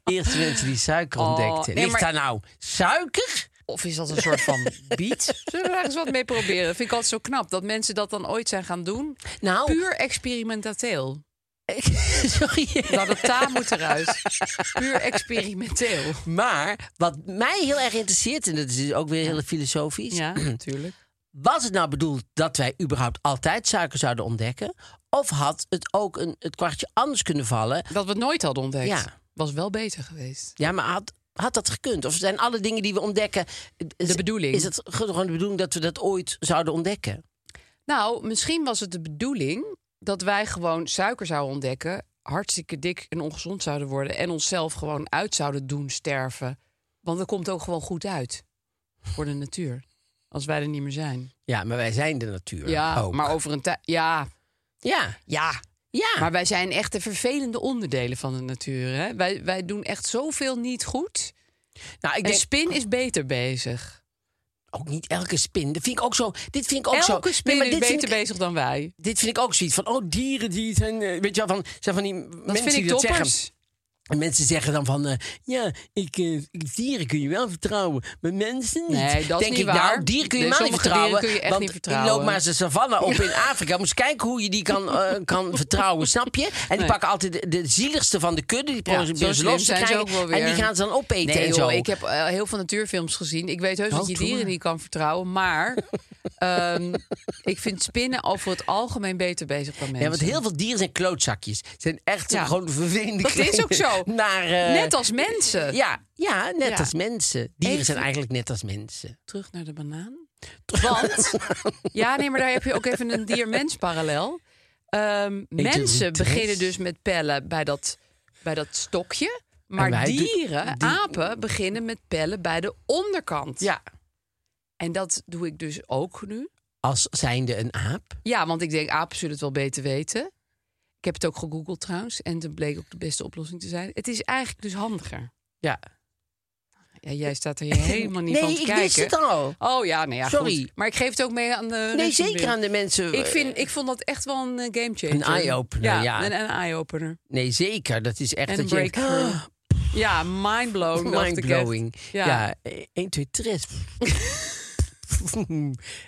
C: Eerst mensen die suiker
D: Oh,
C: ontdekten.
D: nee,
C: ligt
D: maar-
C: daar nou suiker?
D: Of is dat een soort van biet? Zullen we daar eens wat mee proberen? Vind ik altijd zo knap dat mensen dat dan ooit zijn gaan doen.
C: Nou,
D: Puur experimentateel.
C: [LAUGHS] sorry.
D: Nou, dat ta moet eruit. Puur experimenteel.
C: Maar wat mij heel erg interesseert, en dat is dus ook weer heel filosofisch.
D: Ja, natuurlijk.
C: Was het nou bedoeld dat wij überhaupt altijd suiker zouden ontdekken? Of had het ook een, het kwartje anders kunnen vallen?
D: Dat we het nooit hadden ontdekt.
C: Ja.
D: Was wel beter geweest.
C: Ja, maar had, had dat gekund? Of zijn alle dingen die we ontdekken... Is,
D: De bedoeling.
C: Is het ge- gewoon de bedoeling dat we dat ooit zouden ontdekken?
D: Nou, misschien was het de bedoeling dat wij gewoon suiker zouden ontdekken. Hartstikke dik en ongezond zouden worden. En onszelf gewoon uit zouden doen sterven. Want dat komt ook gewoon goed uit. Voor de natuur. Als wij er niet meer zijn.
C: Ja, maar wij zijn de natuur
D: Ja,
C: ook.
D: maar over een tijd. Ja,
C: Ja,
D: ja.
C: ja.
D: Maar wij zijn echt de vervelende onderdelen van de natuur. Hè? Wij, wij doen echt zoveel niet goed.
C: nou, ik
D: De
C: denk
D: spin is beter bezig.
C: ook niet elke spin. Dat vind ik ook zo... Dit vind ik ook zo...
D: Elke
C: Nee,
D: spin
C: maar
D: is
C: dit
D: beter
C: vind ik-
D: bezig dan wij.
C: Dit vind ik ook zoiets van, oh, dieren die zijn... eh, Weet je wel, van, zijn van die
D: Dat
C: mensen
D: vind ik
C: die dat zeggen.
D: toppers.
C: En mensen zeggen dan van, eh, ja, ik, eh, dieren kun je wel vertrouwen, maar mensen niet.
D: Nee, dat is
C: Denk
D: niet
C: ik,
D: waar.
C: nou, dieren kun je
D: Nee,
C: maar niet
D: sommige
C: vertrouwen.
D: dieren kun je echt
C: want
D: niet vertrouwen.
C: ik loop maar eens de savanne op in Afrika. Moest kijken hoe je die kan, eh,
D: [LAUGHS]
C: kan vertrouwen, snap je? En die
D: Nee.
C: pakken altijd de, de zieligste van de kudde. Die proberen
D: zo
C: ze
D: slim
C: los te
D: zijn ze
C: krijgen.
D: ook wel
C: En die
D: weer.
C: gaan ze dan opeten
D: Nee,
C: en
D: joh,
C: zo.
D: ik heb eh, heel veel natuurfilms gezien. Ik weet heus
C: Oh,
D: dat je
C: doe
D: dieren
C: maar.
D: niet kan vertrouwen. Maar
C: [LAUGHS]
D: ehm, ik vind spinnen over het algemeen beter bezig dan mensen.
C: ja, want heel veel dieren zijn klootzakjes. Ze zijn echt
D: Ja.
C: gewoon vervelende
D: Dat is ook
C: kleine- [LAUGHS]
D: zo.
C: Naar, eh,
D: Net als
C: [LAUGHS]
D: mensen.
C: Ja, ja net
D: Ja.
C: als mensen. Dieren
D: Even-
C: zijn eigenlijk net als mensen.
D: Terug naar de banaan. Want, ja, nee, maar daar heb je ook even een dier-mens parallel. Ehm,
C: doe
D: mensen
C: niet, hè?
D: beginnen dus met pellen bij dat, bij dat stokje. Maar
C: En wij doen-
D: dieren,
C: die-
D: apen, beginnen met pellen bij de onderkant.
C: Ja.
D: En dat doe ik dus ook nu.
C: Als zijnde een aap.
D: Ja, want ik denk, apen zullen het wel beter weten. Ik heb het ook gegoogeld trouwens. En dat bleek ook de beste oplossing te zijn. Het is eigenlijk dus handiger.
C: Ja.
D: Ja, jij staat er hier
C: [LAUGHS]
D: helemaal niet
C: nee,
D: van te
C: ik
D: kijken.
C: wist het al.
D: Oh ja, nee, ja,
C: Sorry.
D: goed. Maar ik geef het ook mee aan de
C: Nee,
D: rest van de
C: zeker
D: wereld.
C: aan de mensen. eh,
D: Ik, vind, ik vond dat echt wel een eh, gamechanger.
C: Een eye-opener, ja.
D: Een, een eye-opener.
C: Nee, zeker. Dat is echt
D: En een
C: dat je denkt, "Ah,
D: breakthrough.
C: [GASPS]
D: Ja,
C: [LAUGHS]
D: mindblown. dacht ik echt.
C: Mindblowing.
D: Ja.
C: Ja. eh, 1, 2, 3. [LAUGHS]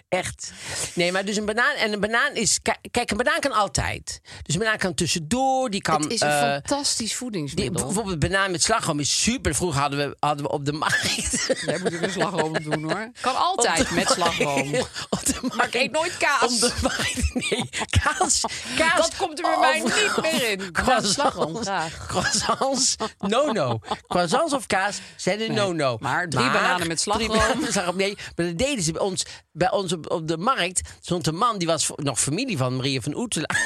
C: Echt. Nee, maar dus een banaan. En een banaan is. ki- Kijk, een banaan kan altijd. Dus een banaan kan tussendoor. Die kan.
D: Het is een
C: eh,
D: fantastisch
C: die,
D: voedingsmiddel.
C: bijvoorbeeld banaan met slagroom is super. Vroeger hadden we, hadden we op de markt.
D: Jij moet er een slagroom op doen hoor. Kan
C: [LAUGHS]
D: altijd met slagroom.
C: Op de markt.
D: Maar ik eet nooit kaas.
C: Op de markt. [LAUGHS] Nee, kaas. kaas
D: Dat komt er bij mij
C: of-
D: niet meer
C: [LAUGHS]
D: in.
C: Croissants,
D: slagroom, graag.
C: Croissants, no-no. Croissants of kaas zijn een no-no.
D: maar drie bananen met slagroom.
C: drie bananen met slagroom, Nee, maar dat deden ze bij ons, bij ons op, op de markt. Stond een man, die was vo- nog familie van Maria van Oetela. [LAUGHS]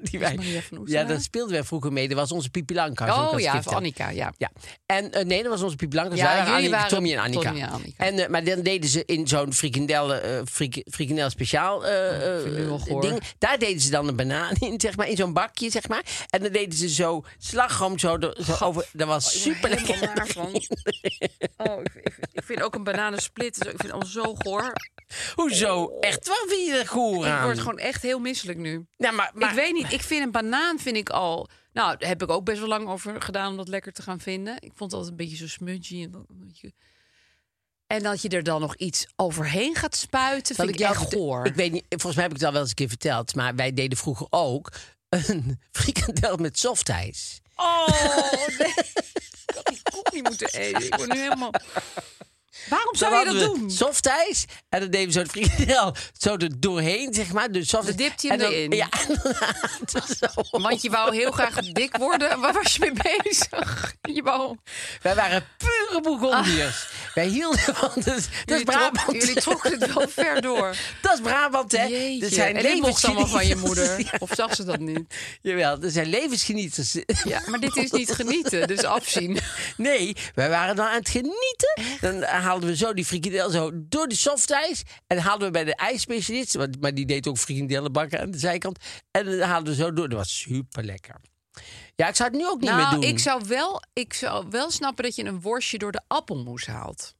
C: Die wij,
D: Maria van Oetelaar?
C: ja, daar speelden wij vroeger mee. Dat was onze Pipi Langkous, heb ik
D: Oh
C: als
D: ja,
C: kind
D: van
C: verteld.
D: Annika, ja.
C: Ja, en eh, nee, dat was onze Piet Blankers.
D: Ja,
C: Wij waren
D: jullie
C: Annie-
D: waren
C: Tommy en Annika.
D: Tommy en Annika.
C: En, eh, maar dan deden ze in zo'n frikandelle, eh, frik- frikandel speciaal eh, eh,
D: vind ik nu wel goor.
C: ding. Daar deden ze dan een banaan in, zeg maar, in zo'n bakje, zeg maar. En dan deden ze zo slagroom zo, er- zo over. Dat
D: Oh,
C: was super lekker.
D: naar
C: [LAUGHS]
D: van. Oh, ik, ik- ik vind ook een bananensplit. dus ik vind het al zo goor.
C: Hoezo? Echt? Waar vind je er goor
D: Ik
C: aan?
D: word gewoon echt heel misselijk nu.
C: Nou, maar, maar-
D: ik weet niet, ik vind een banaan vind ik al... Nou, daar heb ik ook best wel lang over gedaan om dat lekker te gaan vinden. Ik vond het altijd een beetje zo smudgy. En, dan- een beetje- en dat je er dan nog iets overheen gaat spuiten,
C: Zal
D: vind ik,
C: jou
D: echt
C: vertel-
D: goor.
C: Ik weet niet, volgens mij heb ik het al wel eens een keer verteld. Maar wij deden vroeger ook een frikandel met softijs.
D: Oh, nee. [LAUGHS] Ik had die koek niet moeten eten. Ik word nu helemaal... Waarom zou je
C: Dan
D: dat
C: hadden we
D: doen?
C: Softijs. En dan nemen we zo het frikandel [LAUGHS] zo er doorheen, zeg maar. Dus soft...
D: Dan dipt hij hem
C: en dan-
D: erin.
C: Ja, [LAUGHS] en dan haalt het zo. op.
D: Want je wou heel graag dik worden. Waar was je mee bezig? Je wou...
C: Wij waren pure Bourgondiërs. Wij hielden van... Dat, dat is
D: Ah. Jullie, trok,
C: Brabant.
D: jullie trokken het wel ver door.
C: [LAUGHS] Dat is Brabant, hè? [LAUGHS]
D: Jeetje.
C: Er zijn
D: en dit mocht allemaal van je
C: levensgenieters. [LAUGHS]
D: moeder. Of zag ze dat niet?
C: Jawel, er zijn levensgenieters.
D: Ja, maar dit is niet genieten, dus afzien. [LAUGHS]
C: Nee, wij waren dan aan het genieten. Dan haalden we zo die frikandel zo door de softijs. En haalden we bij de ijsspecialist, want- maar die deed ook frikandellenbakken aan de zijkant. En dan haalden we zo door. Dat was super lekker. Ja, ik zou het nu ook niet meer
D: Nou,
C: doen.
D: ik zou, wel, ik zou wel snappen dat je een worstje door de appelmoes haalt.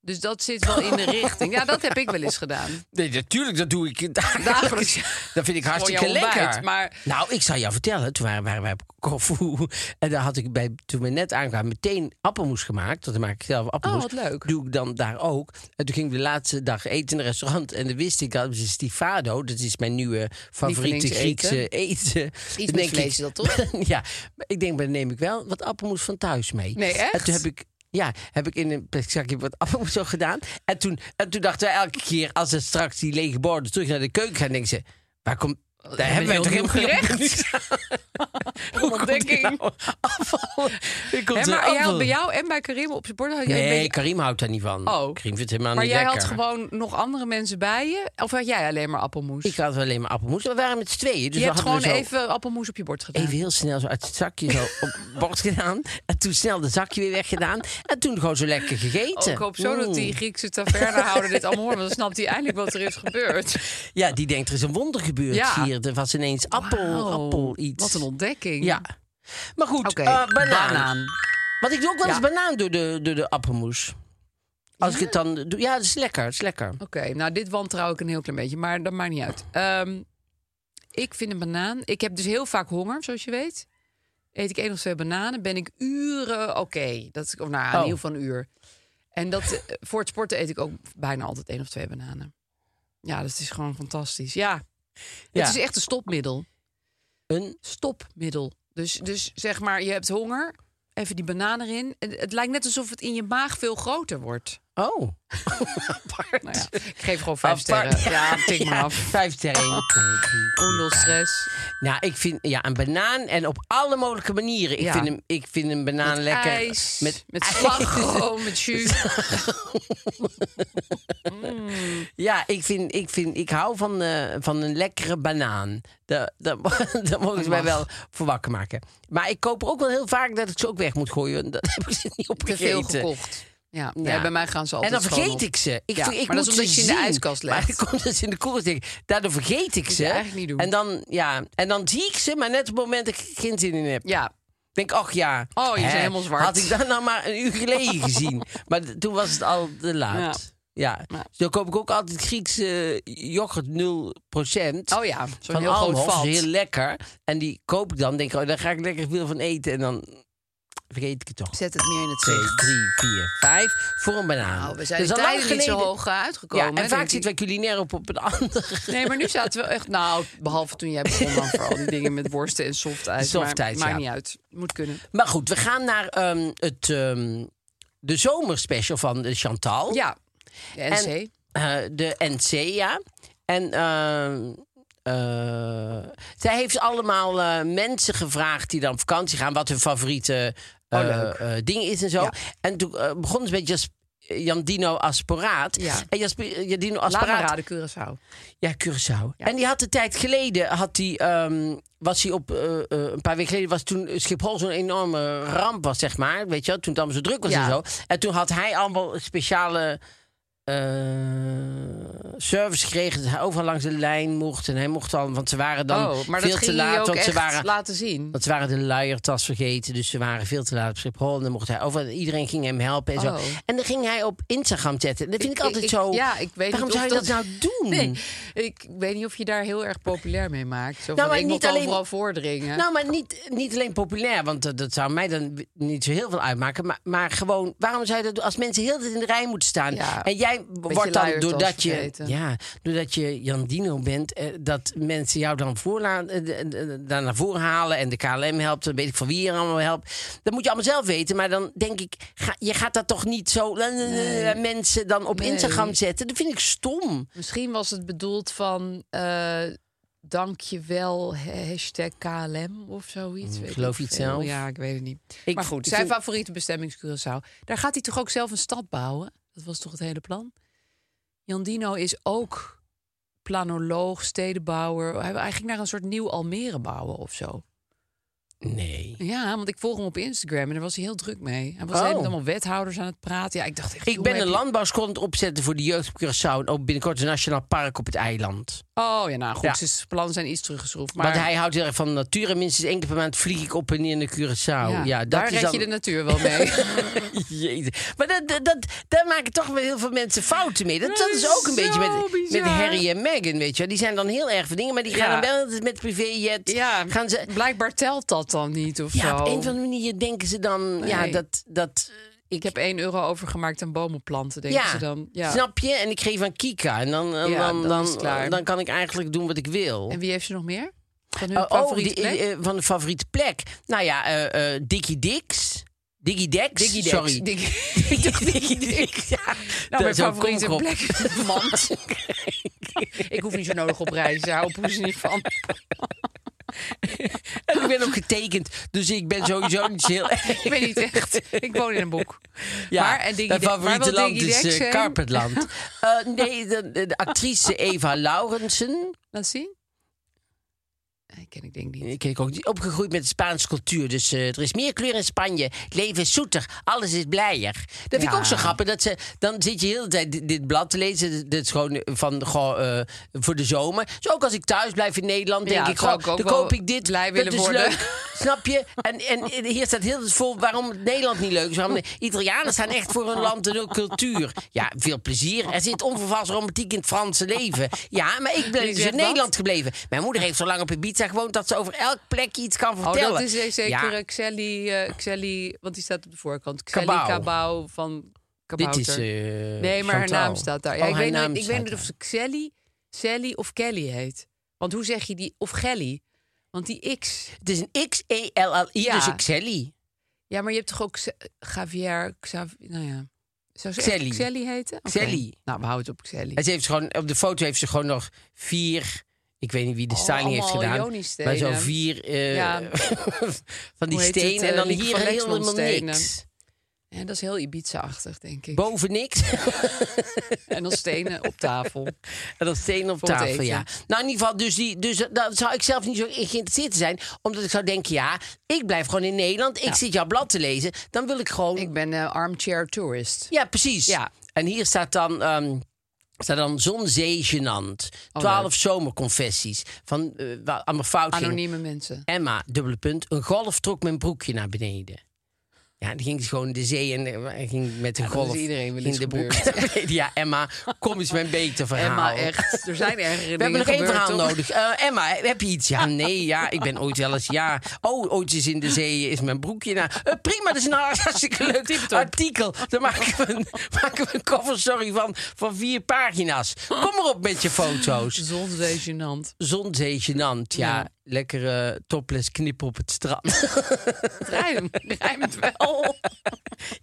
D: Dus dat zit wel in de richting. Ja, dat heb ik wel eens
C: [LAUGHS]
D: gedaan.
C: Nee, natuurlijk, dat doe ik
D: Dagelijks.
C: dagelijks. Dat vind ik hartstikke
D: jouw ontbijt,
C: lekker.
D: maar-
C: Nou, ik zal jou vertellen, toen waren, waren wij op Corfu. [LAUGHS] En daar had ik bij, toen we net aankwamen, meteen appelmoes gemaakt. Want dan maak ik zelf appelmoes.
D: Oh, wat leuk.
C: Doe ik dan daar ook. En toen gingen we de laatste dag eten in een restaurant. En dan wist ik, dat is Stifado. Dat is mijn nieuwe favoriete
D: Lievelingseten.
C: Griekse eten. Dan
D: met
C: denk
D: vlees is dat toch?
C: [LAUGHS] ja, maar ik denk, maar dan neem ik wel wat appelmoes van thuis mee.
D: Nee, echt?
C: En toen heb ik... Ja, heb ik in een plastic zakje wat appelmoes zo gedaan. En toen, en toen dachten wij elke keer, als ze straks die lege borden terug naar de keuken gaan, denken ze, waar komt... Daar hebben wij
D: een
C: toch
D: heel
C: helemaal
D: nieuw
C: geen
D: gerecht? [LAUGHS]
C: Hoe komt [LAUGHS]
D: ontdekking.
C: dit nou? Afval. Hier komt
D: Hè,
C: er
D: maar jij had
C: appel.
D: bij jou en bij Karim op zijn bord had je een
C: Nee,
D: beetje-
C: Karim houdt daar niet van.
D: Oh.
C: Karim vindt het helemaal
D: Maar
C: niet
D: jij
C: lekker.
D: had gewoon nog andere mensen bij je? Of had jij alleen maar appelmoes?
C: Ik had alleen maar appelmoes. We waren met z'n tweeën. Dus
D: je
C: we
D: hebt
C: hadden
D: gewoon
C: we zo
D: even appelmoes op je bord gedaan.
C: even heel snel zo uit het zakje
D: [LAUGHS]
C: zo op het bord gedaan. En toen snel de zakje weer weggedaan. En toen gewoon zo lekker
D: Oh,
C: gegeten.
D: ik hoop zo dat die
C: Mm.
D: Griekse tavernehouder dit allemaal hoort. Want dan snapt hij eindelijk wat er is
C: [LAUGHS]
D: gebeurd.
C: Ja, die denkt er is een wonder gebeurd
D: Ja.
C: hier. Er was ineens appel,
D: Wauw,
C: appel iets.
D: Wat een ontdekking.
C: Ja. Maar goed,
D: Oké,
C: eh, banaan.
D: banaan.
C: Want ik doe ook wel eens
D: Ja.
C: banaan door de, door de appelmoes. Als ik het dan doe. Ja, het is lekker. Het is lekker.
D: Oké, nou dit wantrouw ik een heel klein beetje, maar dat maakt niet uit. Ehm, ik vind een banaan. Ik heb dus heel vaak honger, zoals je weet. Eet ik één of twee bananen, ben ik uren oké. Dat is of nou, in
C: Oh.
D: ieder geval een uur. En dat eh, voor het sporten eet ik ook bijna altijd één of twee bananen. Ja, dat is gewoon fantastisch. Ja,
C: Ja.
D: het is echt een stopmiddel.
C: Een,
D: Stopmiddel. Dus, dus zeg maar, je hebt honger, even die banaan erin. Het, het lijkt net alsof het in je maag veel groter wordt.
C: oh.
D: Nou ja, ik geef gewoon vijf
C: Apart.
D: sterren. Ja,
C: [LAUGHS]
D: tik maar
C: Ja,
D: af.
C: Vijf sterren.
D: Koendelstress.
C: Nou, ik vind ja, een banaan en op alle mogelijke manieren. Ik,
D: Ja.
C: vind, hem, ik vind een banaan
D: Met
C: lekker.
D: ijs, met,
C: [LAUGHS]
D: met
C: ijs.
D: slagroom, met jus.
C: Ja, ik, vind, ik, vind, ik hou van, eh, van een lekkere banaan. Daar daar- [LAUGHS] daar mogen ze mij wel voor wakker maken. Maar ik koop er ook wel heel vaak dat ik ze ook weg moet gooien. want Dat [LAUGHS] heb ik ze niet
D: Te veel
C: opgegeten.
D: gekocht. Ja,
C: Ja.
D: nee, bij mij gaan ze
C: En
D: altijd
C: dan
D: schoon
C: vergeet
D: op.
C: ik ze. Ik,
D: Ja,
C: ik moet
D: maar dat is omdat
C: ze
D: je ze in de
C: zien.
D: ijskast
C: Maar [LAUGHS]
D: legt.
C: dan komt het in de koelkast. liggen. Daardoor vergeet ik
D: je
C: ze.
D: eigenlijk niet doen.
C: En dan, ja, en dan zie ik ze, maar net op het moment dat ik er geen zin in heb.
D: Ja,
C: Ik denk, ach ja.
D: Oh,
C: hè,
D: je bent helemaal zwart.
C: Had ik dat nou maar een uur
D: [LAUGHS]
C: geleden gezien. Maar d- toen was het al te laat. Ja.
D: Ja.
C: Zo koop ik ook altijd Griekse yoghurt 0%.
D: oh ja, zo'n
C: van
D: heel groot
C: Almhof.
D: vat.
C: Heel lekker. En die koop ik dan. Denk ik, oh, daar ga ik lekker veel van eten. En dan vergeet ik het toch.
D: Zet het meer in het
C: 2,
D: zicht.
C: 3, 4, 5 voor een banaan.
D: Nou, we zijn
C: Dus
D: de
C: al lang
D: tijden niet zo
C: geleden-
D: hoog eh, uitgekomen.
C: Ja,
D: hè,
C: en
D: denk
C: vaak
D: ik.
C: zitten wij culinair op, op een [LAUGHS] andere
D: Nee, maar nu zaten we echt... Nou, behalve toen jij begon dan voor al die dingen met worsten en softijs. maar
C: Softijs,
D: Maakt
C: ja.
D: niet uit. Moet kunnen.
C: Maar goed, we gaan naar ehm, het, ehm, de zomerspecial van eh, Chantal.
D: Ja, de NC.
C: En- Eh, de NC, ja. En ehm, eh, zij heeft allemaal eh, mensen gevraagd die dan op vakantie gaan, wat hun favoriete eh, eh, ding is en zo.
D: Oh, Ja.
C: En toen eh, begon het met Jas, Jandino Asporaat.
D: Ja.
C: En Jasp- eh, Jandino
D: Laat maar
C: Asporaat.
D: raden, Curaçao.
C: Ja, Curaçao. En die had een tijd geleden, had die, ehm, was hij op, eh, eh, een paar weken geleden, was toen Schiphol zo'n enorme ramp was, zeg maar. Weet je wel, toen het allemaal zo druk was
D: Ja.
C: en zo. En toen had hij allemaal speciale eh, service gekregen. Dat hij overal langs de lijn mocht. En hij mocht dan, want ze waren dan
D: oh, maar dat
C: veel te
D: ging je
C: laat.
D: ook
C: Want ze,
D: echt
C: waren,
D: laten zien.
C: want ze waren de luiertas vergeten. Dus ze waren veel te laat op Schiphol. En dan mocht hij over. Iedereen ging hem helpen en
D: Oh.
C: zo. En dan ging hij op Instagram zetten. Dat vind ik, altijd zo...
D: Ja, ik weet
C: waarom
D: niet of
C: zou je dat, nou doen?
D: Nee, ik weet niet of je daar heel erg populair mee maakt. Zo van,
C: Nou, maar
D: ik moet
C: niet alleen-
D: overal voordringen.
C: Nou, maar niet, niet alleen populair, want dat, dat zou mij dan niet zo heel veel uitmaken. Maar, maar gewoon, waarom zou je dat doen als mensen heel de tijd in de rij moeten staan?
D: Ja.
C: En jij mij wordt dan,
D: luiertas
C: doordat je,
D: vergeten.
C: ja, doordat je Jan Dino bent, eh, dat mensen jou dan voorla- eh, de- de- daar naar voren halen en de KLM helpt, dan weet ik van wie je allemaal helpt. Dat moet je allemaal zelf weten, maar dan denk ik, ga, je gaat dat toch niet zo eh, mensen dan op
D: Nee.
C: Instagram zetten? Dat vind ik stom.
D: Misschien was het bedoeld van eh dank je wel hashtag KLM of zoiets. weet
C: Mm, geloof
D: ik
C: iets
D: veel.
C: zelf.
D: Ja, ik weet het niet.
C: Ik-
D: maar goed,
C: ik
D: zijn
C: vind-
D: favoriete bestemming is Curaçao. Daar gaat hij toch ook zelf een stad bouwen? Dat was toch het hele plan? Jandino is ook planoloog, stedenbouwer. Hij wil eigenlijk naar een soort nieuw Almere bouwen of zo.
C: Nee.
D: Ja, want ik volg hem op Instagram en daar was hij heel druk mee. Hij was
C: Oh.
D: helemaal met allemaal wethouders aan het praten. Ja, ik dacht echt,
C: Ik
D: jongen,
C: ben
D: heb
C: een
D: je-
C: landbouwschool aan het opzetten voor de jeugd op Curaçao. En ook binnenkort een nationaal park op het eiland.
D: Oh ja, nou goed,
C: Ja.
D: zijn plannen zijn iets teruggeschroefd. Maar
C: Want hij houdt heel erg van de natuur. En minstens één keer per maand vlieg ik op en neer naar Curaçao.
D: Oh,
C: Ja, dat
D: daar
C: is
D: red
C: dan...
D: je de natuur wel mee.
C: [LAUGHS] Jezus. Maar dat, dat, dat, daar maken toch wel heel veel mensen fouten mee. Dat, dat is ook een
D: Zo
C: beetje met, met
D: bizar.
C: Harry en Meghan, weet je wel. Die zijn dan heel erg van dingen, maar die gaan
D: Ja.
C: dan wel altijd met privéjet.
D: [LAUGHS] ja,
C: gaan ze,
D: blijkbaar telt dat dan niet of
C: ja,
D: zo.
C: op een of andere manier denken ze dan... Ja,
D: Nee.
C: dat... dat
D: Ik heb 1 euro overgemaakt aan bomen planten, denken
C: ja,
D: ze dan. Ja.
C: snap je? En ik geef aan Kika. En dan, dan,
D: Ja,
C: dan,
D: dan is het
C: dan,
D: klaar.
C: dan kan ik eigenlijk doen wat ik wil.
D: En wie heeft ze nog meer? Van hun
C: Oh, oh,
D: favoriete
C: die-
D: plek?
C: eh, van de favoriete plek. Nou ja, eh eh Dickie Dix. Diggy Dex.
D: Diggy Dex.
C: Sorry. [LAUGHS]
D: Diggy-
C: Diggy Dix. Ja,
D: nou, mijn
C: Zo
D: favoriete
C: kom ik op.
D: plek is
C: [LAUGHS]
D: de mand. [LAUGHS] ik hoef niet zo nodig op reis. Daar houden poes niet van.
C: En ik ben ook getekend, dus ik ben sowieso niet zo heel
D: [LAUGHS]
C: erg.
D: Ik weet niet echt. Ik woon in een boek.
C: Ja,
D: Maar, en Diggy
C: mijn
D: Dex-
C: favoriete
D: waar wil
C: land
D: Diggy
C: is
D: Dex
C: eh,
D: zijn?
C: Carpetland.
D: [LAUGHS]
C: Eh, nee, de, de- de actrice Eva Laurensen.
D: Laat zien. Nee, ken ik denk niet.
C: Ik keek ook die- opgegroeid met de Spaanse cultuur. Dus eh, er is meer kleur in Spanje. Het leven is zoeter. Alles is blijer. Dat vind ik
D: Ja.
C: ook zo grappig. Dat ze, dan zit je de hele tijd di- dit, blad te lezen. Dit is gewoon eh, van, goh, eh, voor de zomer. Dus ook als ik thuis blijf in Nederland, denk
D: Ja,
C: ik
D: zou
C: gewoon,
D: ik ook
C: dan
D: wel
C: koop ik dit.
D: blij
C: Dat
D: willen
C: is
D: worden.
C: leuk. Snap je? En, en hier staat heel het vol waarom het Nederland niet leuk is. Waarom de Italianen staan echt voor hun land en hun cultuur. Ja, veel plezier. Er zit onvervals romantiek in het Franse leven. Ja, maar ik ben
D: Wie
C: dus
D: zegt
C: in
D: dat?
C: Nederland gebleven. Mijn moeder heeft zo lang op Ibiza gewoond dat ze over elk plekje iets kan
D: Oh,
C: vertellen.
D: dat is eh, zeker
C: Ja,
D: eh, Xelly, eh, Xelly, want die staat op de voorkant. Xelly
C: Cabau.
D: Cabau, van
C: dit
D: Kabouter.
C: is. eh,
D: nee, maar haar
C: Chantal.
D: naam staat daar. Ja,
C: Oh,
D: ik
C: haar
D: weet,
C: naam
D: niet, ik weet
C: staat
D: niet of
C: daar.
D: ze Xelly, Sally of Kelly heet. Want hoe zeg je die? Of Gelly? Want die X.
C: Het is een X-E-L-L-I,
D: Ja.
C: dus Xelly.
D: Ja, maar je hebt toch ook Xe- Xavier, Xavier, nou ja. Zou ze echt
C: Xelly.
D: Xelly heten? Oké.
C: Xelly.
D: Nou, we houden het op Xelly.
C: En ze heeft gewoon, op de foto heeft ze gewoon nog vier. Ik weet niet wie de
D: Oh,
C: styling heeft
D: allemaal
C: gedaan. Maar
D: ionenstenen.
C: zo vier eh, [LAUGHS]
D: Ja.
C: van die
D: Hoe heet het,
C: stenen. en
D: eh,
C: dan
D: Lieke
C: hier
D: van
C: helemaal
D: Lexmond
C: niks.
D: stenen. En dat is heel Ibiza-achtig, denk ik.
C: Boven niks. [LAUGHS]
D: en dan stenen op tafel.
C: En dan stenen op
D: Voor het
C: tafel,
D: eten.
C: ja. Nou, in ieder geval, dus, die, dus daar zou ik zelf niet zo in geïnteresseerd zijn. Omdat ik zou denken, ja, ik blijf gewoon in Nederland. Ik zit jouw blad te lezen. Dan wil ik gewoon...
D: Ik ben eh, armchair tourist.
C: Ja, precies.
D: Ja.
C: En hier staat dan... ehm staat dan Zon, Zee, Genant.
D: Oh,
C: Twaalf zomerconfessies. Van eh, waar allemaal fout ging.
D: Anonieme mensen.
C: Emma, dubbele punt. Een golf trok mijn broekje naar beneden. Ja, die ging gewoon de zee en eh, ging met een
D: Ja, dat is
C: golf.
D: iedereen wel
C: in
D: eens
C: de broek. [LAUGHS]
D: gebeurd.
C: naar beneden. ja, Emma, kom eens met een beter verhaal.
D: Emma, echt. Er zijn ergere
C: [LAUGHS]
D: dingen
C: We hebben nog één
D: gebeurd,
C: verhaal
D: toch?
C: nodig. Eh, Emma, heb je iets? Ja, nee, ja, ik ben ooit wel eens, ja. Oh, ooit eens in de zee is mijn broekje naar. Eh, prima, dat is een [LAUGHS] hartstikke leuk artikel. Daar maken we een, [LAUGHS] maken we een cover, sorry, van, van vier pagina's. Kom maar op met je foto's.
D: Zonzee gênant.
C: Zon, zee, gênant. Ja,
D: Ja.
C: lekkere topless knippen op het strand.
D: [LAUGHS] [LAUGHS]
C: [LAUGHS]
D: Het rijmt, rijmt wel.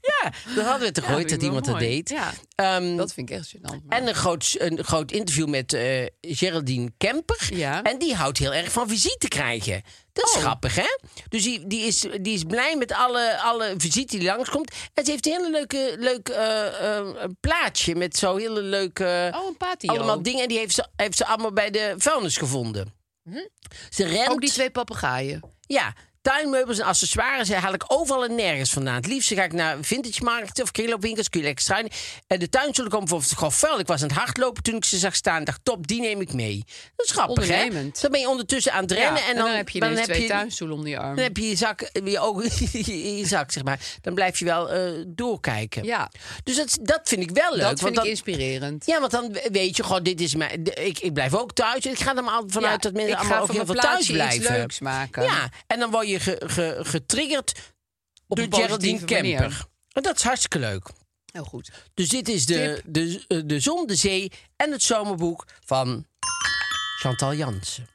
C: ja, dat hadden we te
D: Ja,
C: gooien
D: vind ik
C: dat iemand
D: wel
C: dat
D: mooi.
C: deed.
D: Ja,
C: Ehm,
D: dat vind ik echt gênant. maar-
C: en een groot, een groot interview met eh, Geraldine Kemper.
D: Ja. Oh.
C: En die houdt heel erg van visite krijgen. Dat is grappig, hè? Dus die, die, is, die is blij met alle, alle visite die langskomt. En ze heeft een hele leuke, leuk eh, eh, een plaatje met zo'n hele leuke...
D: Oh, een patio.
C: allemaal dingen. En die heeft ze, heeft ze allemaal bij de vuilnis gevonden. Ze rent...
D: Mhm. Ook die twee papegaaien.
C: Ja, tuinmeubels en accessoires haal ik overal en nergens vandaan. Het liefst ga ik naar vintage markten of kringloopwinkels, kun je lekker struinen. En de tuin zullen komen voor het gewoon vuil. Ik was aan het hardlopen toen ik ze zag staan. dacht, top, die neem ik mee. Dat is grappig, hè?
D: Ondernemend.
C: Dus Dan ben je ondertussen aan het rennen.
D: Ja,
C: en, dan,
D: heb je
C: dan
D: ineens
C: heb
D: twee
C: je-
D: tuinstoelen om die arm.
C: Dan heb je je zak, eh, je ogen [LAUGHS] in je zak, zeg maar. Dan blijf je wel eh, doorkijken.
D: Ja,
C: Dus dat, dat vind ik wel leuk.
D: dat
C: want
D: vind ik
C: dan-
D: inspirerend.
C: ja, want dan weet je, goh, dit is mijn. de- Ik, ik blijf ook thuis. Ik ga er maar altijd vanuit
D: Ja,
C: dat mensen
D: ik
C: allemaal
D: ga
C: ook
D: van
C: heel veel
D: mijn
C: thuis
D: plaatsje iets
C: blijven.
D: leuks maken.
C: Ja, en dan word je ge- ge- getriggerd
D: Op
C: door
D: een
C: Geraldine
D: positieve manier.
C: Kemper. En dat is hartstikke leuk.
D: Heel goed.
C: Dus dit is de, de, eh, de Zon, de Zee en het Zomerboek van Chantal Jansen.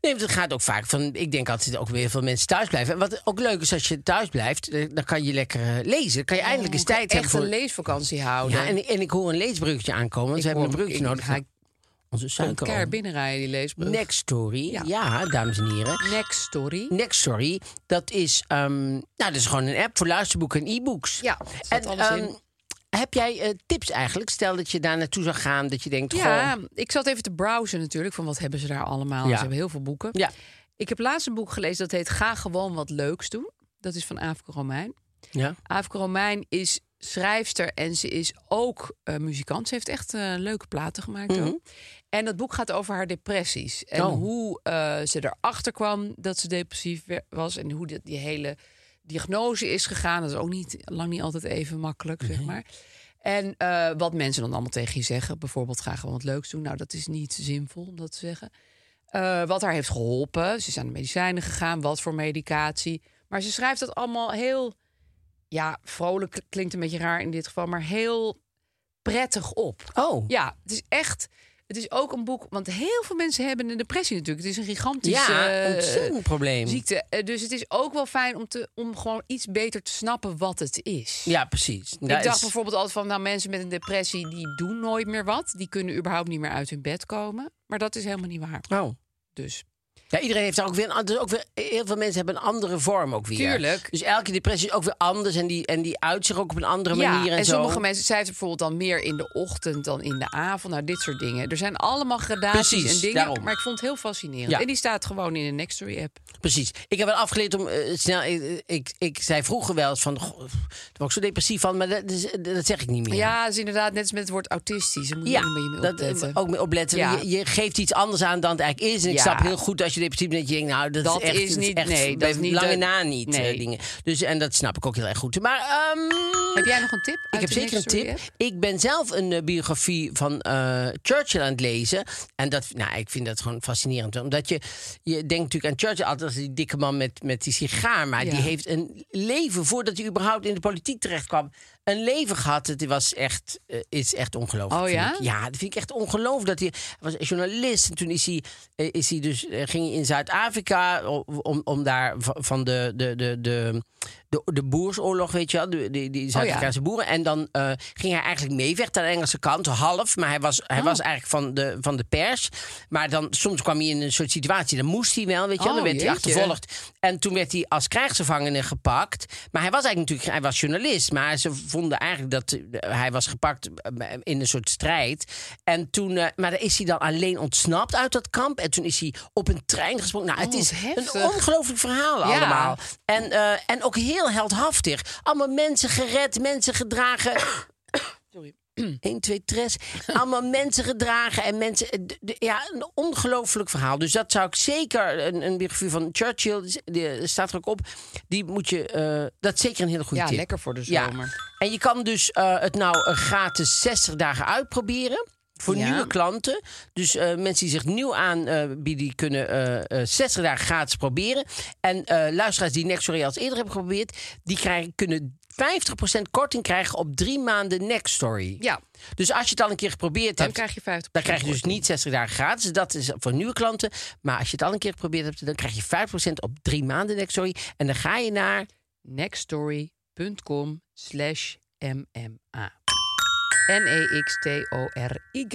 C: Nee, want het gaat ook vaak van. Ik denk altijd ook weer veel mensen thuis blijven. En wat ook leuk is als je thuis blijft, eh, dan kan je lekker eh, lezen. Dan kan je eindelijk eens tijd
D: Echt
C: hebben
D: een
C: voor.
D: leesvakantie houden.
C: ja, en, en ik hoor een leesbruggetje aankomen. Want
D: Oh, Ik
C: we hebben een
D: hoor-
C: bruggetje
D: ik
C: nodig.
D: ga-
C: Onze
D: Elkaar
C: suikeroom.
D: binnenrijden, die leesbrug.
C: Next story. Ja.
D: Ja.
C: dames en heren.
D: Next story.
C: Next story. Dat is, ehm, nou, dat is gewoon een app voor luisterboeken en e-books.
D: Ja,
C: En
D: staat alles in.
C: ehm, heb jij eh, tips eigenlijk? Stel dat je daar naartoe zou gaan, dat je denkt,
D: Ja,
C: goh,
D: ik zat even te browsen natuurlijk. Van wat hebben ze daar allemaal?
C: Ja.
D: Ze hebben heel veel boeken.
C: Ja.
D: Ik heb laatst een boek gelezen dat heet Ga gewoon wat leuks doen. Dat is van Aafke Romein.
C: Ja.
D: Aafke Romein is schrijfster en ze is ook eh, muzikant. Ze heeft echt eh, leuke platen gemaakt. ook. En dat boek gaat over haar depressies. En
C: Oh.
D: hoe eh, ze erachter kwam dat ze depressief we- was. En hoe die, die hele diagnose is gegaan. Dat is ook niet, lang niet altijd even makkelijk, zeg maar. En eh, wat mensen dan allemaal tegen je zeggen. Bijvoorbeeld, ga gewoon wat leuks doen. Nou, dat is niet zinvol om dat te zeggen. Eh, wat haar heeft geholpen. Ze is aan de medicijnen gegaan. Wat voor medicatie. Maar ze schrijft dat allemaal heel... Ja, vrolijk klinkt een beetje raar in dit geval. Maar heel prettig op.
C: oh,
D: Ja, het is echt. Het is ook een boek, want heel veel mensen hebben een depressie natuurlijk. Het is een gigantische
C: ja,
D: eh,
C: ontzettend probleem.
D: ziekte. Eh, Dus het is ook wel fijn om, te, om gewoon iets beter te snappen wat het is.
C: Ja, precies. Daar
D: Ik dacht
C: is-
D: bijvoorbeeld altijd van, nou mensen met een depressie die doen nooit meer wat. Die kunnen überhaupt niet meer uit hun bed komen. Maar dat is helemaal niet waar.
C: Oh.
D: Dus
C: Ja, iedereen heeft daar ook weer, een- dus ook weer. Heel veel mensen hebben een andere vorm ook weer.
D: Tuurlijk.
C: Dus elke depressie is ook weer anders en die, en die uit zich ook op een andere
D: ja,
C: manier. En,
D: en
C: zo.
D: sommige mensen, zij heeft bijvoorbeeld dan meer in de ochtend dan in de avond. Nou, dit soort dingen. Er zijn allemaal gradaties
C: Precies,
D: en dingen.
C: daarom.
D: Maar ik vond het heel fascinerend.
C: Ja.
D: En die staat gewoon in de Nextory app.
C: Precies. Ik heb wel afgeleerd om eh, snel. Ik, ik, ik zei vroeger wel eens van. goh, Daar word ik zo depressief van, maar dat, is- dat zeg ik niet meer.
D: Ja, dat is inderdaad net als met het woord autistisch. Daar moet je
C: Ja,
D: ook een beetje mee
C: dat, eh,
D: opletten.
C: ook mee opletten.
D: Ja.
C: Je, je geeft iets anders aan dan het eigenlijk is. En ik
D: Ja.
C: snap heel goed als je depressief bent. dat Je denkt, nou, dat,
D: Dat
C: is, echt,
D: is
C: dat
D: niet-
C: echt bij
D: nee, dat is niet
C: lange
D: de-
C: na niet. eh,
D: nee.
C: dingen. Dus, en dat snap ik ook heel erg goed. Maar ehm,
D: Heb jij nog een tip?
C: ik
D: uit
C: heb
D: de
C: zeker een
D: Next Story
C: tip.
D: app?
C: Ik ben zelf een eh, biografie van eh, Churchill aan het lezen. En dat, nou, ik vind dat gewoon fascinerend. Omdat je, je denkt natuurlijk aan Churchill altijd als die dikke man met, met die sigaar. Maar
D: Ja.
C: die heeft een leven, voordat hij überhaupt in de politiek terecht kwam, een leven gehad. Het was echt, eh, is echt ongelooflijk.
D: Oh
C: vind
D: ja?
C: ik. Ja, dat vind ik echt ongelooflijk. Dat hij, hij was journalist en toen is hij, eh, is hij dus, eh, ging hij in Zuid-Afrika o- om, om daar va- van de, de, de, de, de, de boersoorlog, weet je wel, de, die, die Zuid-Afrikaanse boeren. En dan eh, ging hij eigenlijk meevechten aan de Engelse kant, half. Maar hij was, hij was eigenlijk van de, van de pers. Maar dan soms kwam hij in een soort situatie, dan moest hij wel, weet je wel. Dan
D: Oh,
C: werd hij
D: jeetje.
C: achtervolgd vervolgd. En toen werd hij als krijgsgevangene gepakt. Maar hij was eigenlijk natuurlijk, hij was journalist. Maar ze vonden eigenlijk dat eh, hij was gepakt eh, in een soort strijd. En toen, eh, maar dan is hij dan alleen ontsnapt uit dat kamp. En toen is hij op een trein gesprongen. Nou, het
D: Oh,
C: is
D: wat
C: een
D: heftig.
C: ongelooflijk verhaal
D: Ja.
C: allemaal. En, eh, en ook heel heldhaftig. Allemaal mensen gered, mensen gedragen.
D: Sorry. Hmm.
C: 1, 2,
D: [LAUGHS]
C: 3. Allemaal mensen gedragen en mensen. eh, d- d- Ja, een ongelooflijk verhaal. Dus dat zou ik zeker. Een, een biografie van Churchill, die- die staat er ook op. Die moet je. eh, dat is zeker een hele goede
D: Ja,
C: tip.
D: lekker voor de
C: Ja.
D: zomer.
C: En je kan dus eh, het nou eh, gratis 60 dagen uitproberen. Voor
D: Ja.
C: nieuwe klanten. Dus eh, mensen die zich nieuw aanbieden, die kunnen eh, eh, 60 dagen gratis proberen. En eh, luisteraars die Nextory als eerder hebben geprobeerd, die krijgen, kunnen 50% korting krijgen op drie maanden Nextory.
D: Ja,
C: Dus als je het al een keer geprobeerd
D: dan
C: hebt,
D: krijg je 50
C: dan krijg je dus niet 60 dagen gratis. Dat is voor nieuwe klanten. Maar als je het al een keer geprobeerd hebt, dan krijg je 5% op drie maanden Nextory. En dan ga je naar
D: Nextstory.com slash mma. E N-E-X-T-O-R-Y.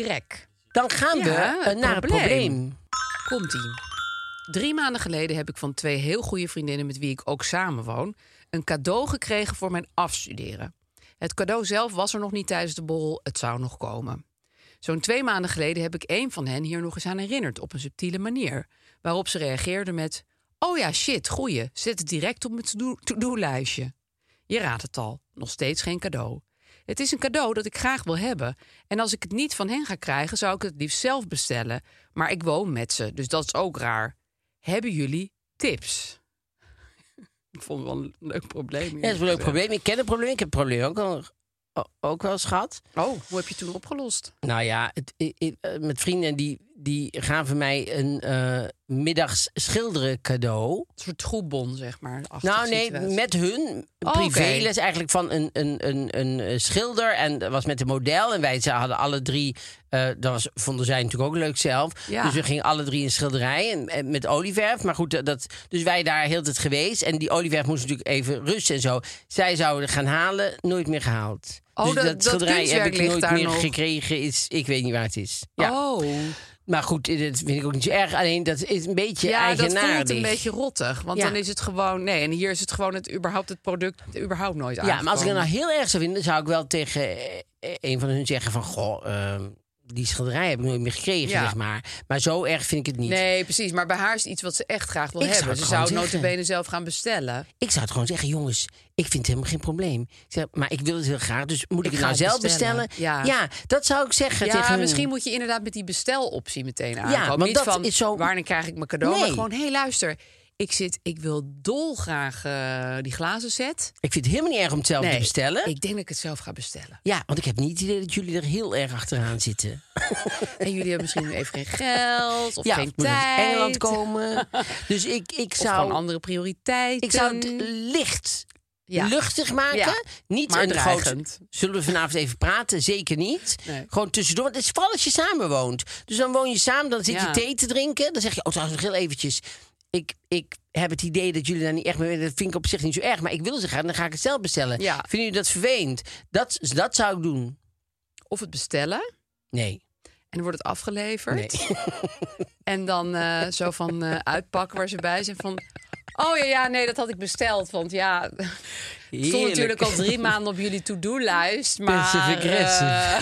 C: Dan gaan we
D: Ja,
C: eh,
D: het
C: naar het
D: probleem.
C: probleem.
D: Komt-ie. Drie maanden geleden heb ik van twee heel goede vriendinnen met wie ik ook samenwoon... een cadeau gekregen voor mijn afstuderen. Het cadeau zelf was er nog niet tijdens de borrel, het zou nog komen. Zo'n twee maanden geleden heb ik een van hen hier nog eens aan herinnerd op een subtiele manier. Waarop ze reageerde met: Oh ja, shit, goeie, zet het direct op mijn to-do- to-do-lijstje. Je raadt het al, nog steeds geen cadeau. Het is een cadeau dat ik graag wil hebben. En als ik het niet van hen ga krijgen, zou ik het liefst zelf bestellen. Maar ik woon met ze, dus dat is ook raar. Hebben jullie tips? [LAUGHS] Ik vond het wel een leuk probleem.
C: Ja, dat is een leuk probleem. Ik ken het probleem. Ik heb het probleem ook, al, o- ook wel eens gehad.
D: Oh, hoe heb je het toen opgelost?
C: Nou ja, het, i- i- eh, met vrienden die, die gaven mij een eh middags schilderen cadeau.
D: Een soort troebon, zeg maar.
C: Nou nee, met hun
D: Oh,
C: privéles eigenlijk van een, een, een, een eh, schilder. En dat was met een model. En wij ze hadden alle drie, eh, dat was, vonden zij natuurlijk ook leuk zelf.
D: Ja.
C: Dus we gingen alle drie in schilderij en, en met olieverf. Maar goed, dat- dat, dus wij daar heel de tijd geweest. En die olieverf moest natuurlijk even rusten en zo. Zij zouden gaan halen, nooit meer gehaald.
D: Oh,
C: dus
D: dat- dat
C: schilderij heb
D: kunstwerk
C: ik
D: ligt
C: nooit
D: daar
C: meer
D: nog.
C: gekregen. Is, ik weet niet waar het is. Ja.
D: Oh.
C: Maar goed, dat vind ik ook niet zo erg. Alleen dat is een beetje
D: Ja, dat
C: eigenaardig.
D: voelt een beetje rottig. Want
C: Ja.
D: dan is het gewoon... Nee, en hier is het gewoon het, überhaupt het product überhaupt nooit
C: Ja, maar als ik het nou
D: aangekomen.
C: heel erg zou vinden, zou ik wel tegen eh, een van hun zeggen van... Goh, ehm, die schilderij heb ik nooit meer gekregen,
D: Ja.
C: zeg maar. Maar zo erg vind ik het niet.
D: Nee, precies. Maar bij haar is het iets wat ze echt graag wil
C: Ik zou
D: hebben.
C: het
D: Ze
C: gewoon
D: zou het
C: zeggen.
D: notabene zelf gaan bestellen.
C: Ik zou het gewoon zeggen, jongens, ik vind het helemaal geen probleem. Ik zeg, maar ik wil het heel graag, dus moet ik,
D: Ik
C: het
D: ga
C: nou
D: het
C: zelf bestellen?
D: bestellen. Ja.
C: dat zou ik zeggen tegen
D: Ja,
C: hun.
D: misschien moet je inderdaad met die besteloptie meteen aankomen.
C: want
D: Niet
C: dat
D: van,
C: is zo-
D: wanneer krijg ik mijn cadeau?
C: Nee.
D: Maar gewoon, hé, hey, luister. Ik zit, ik wil dolgraag eh, die glazen set.
C: Ik vind het helemaal niet erg om het zelf te Oh, bestellen.
D: ik denk dat ik het zelf ga bestellen.
C: Ja, want ik heb niet het idee dat jullie er heel erg achteraan zitten.
D: En jullie hebben misschien even geen geld of
C: ja,
D: geen
C: het moet uit
D: tijd.
C: Engeland
D: [LAUGHS]
C: komen. dus ik, ik
D: Of gewoon
C: zou...
D: andere prioriteiten.
C: Ik zou het licht
D: Ja.
C: luchtig maken.
D: Ja.
C: Niet
D: Maar
C: een groot.
D: dreigend.
C: Zullen we vanavond even praten? Zeker niet.
D: Nee.
C: Gewoon tussendoor. Want Het is vooral als je samen woont. Dus dan woon je samen, dan zit
D: Ja.
C: je thee te drinken. Dan zeg je, oh trouwens nog heel eventjes. Ik, ik heb het idee dat jullie daar niet echt mee willen. Dat vind ik op zich niet zo erg. Maar ik wil ze graag en dan ga ik het zelf bestellen.
D: Ja.
C: Vinden jullie dat vervelend? Dat, dat zou ik doen.
D: Of het bestellen.
C: Nee.
D: En dan wordt het afgeleverd. [LAUGHS] En dan eh, zo van eh, uitpakken waar ze bij zijn. Van, oh ja, ja, nee, dat had ik besteld. Want ja, [LAUGHS] het stond natuurlijk al drie
C: [LAUGHS]
D: maanden op jullie to-do-lijst.
C: Passive
D: Maar
C: aggressive.
D: eh,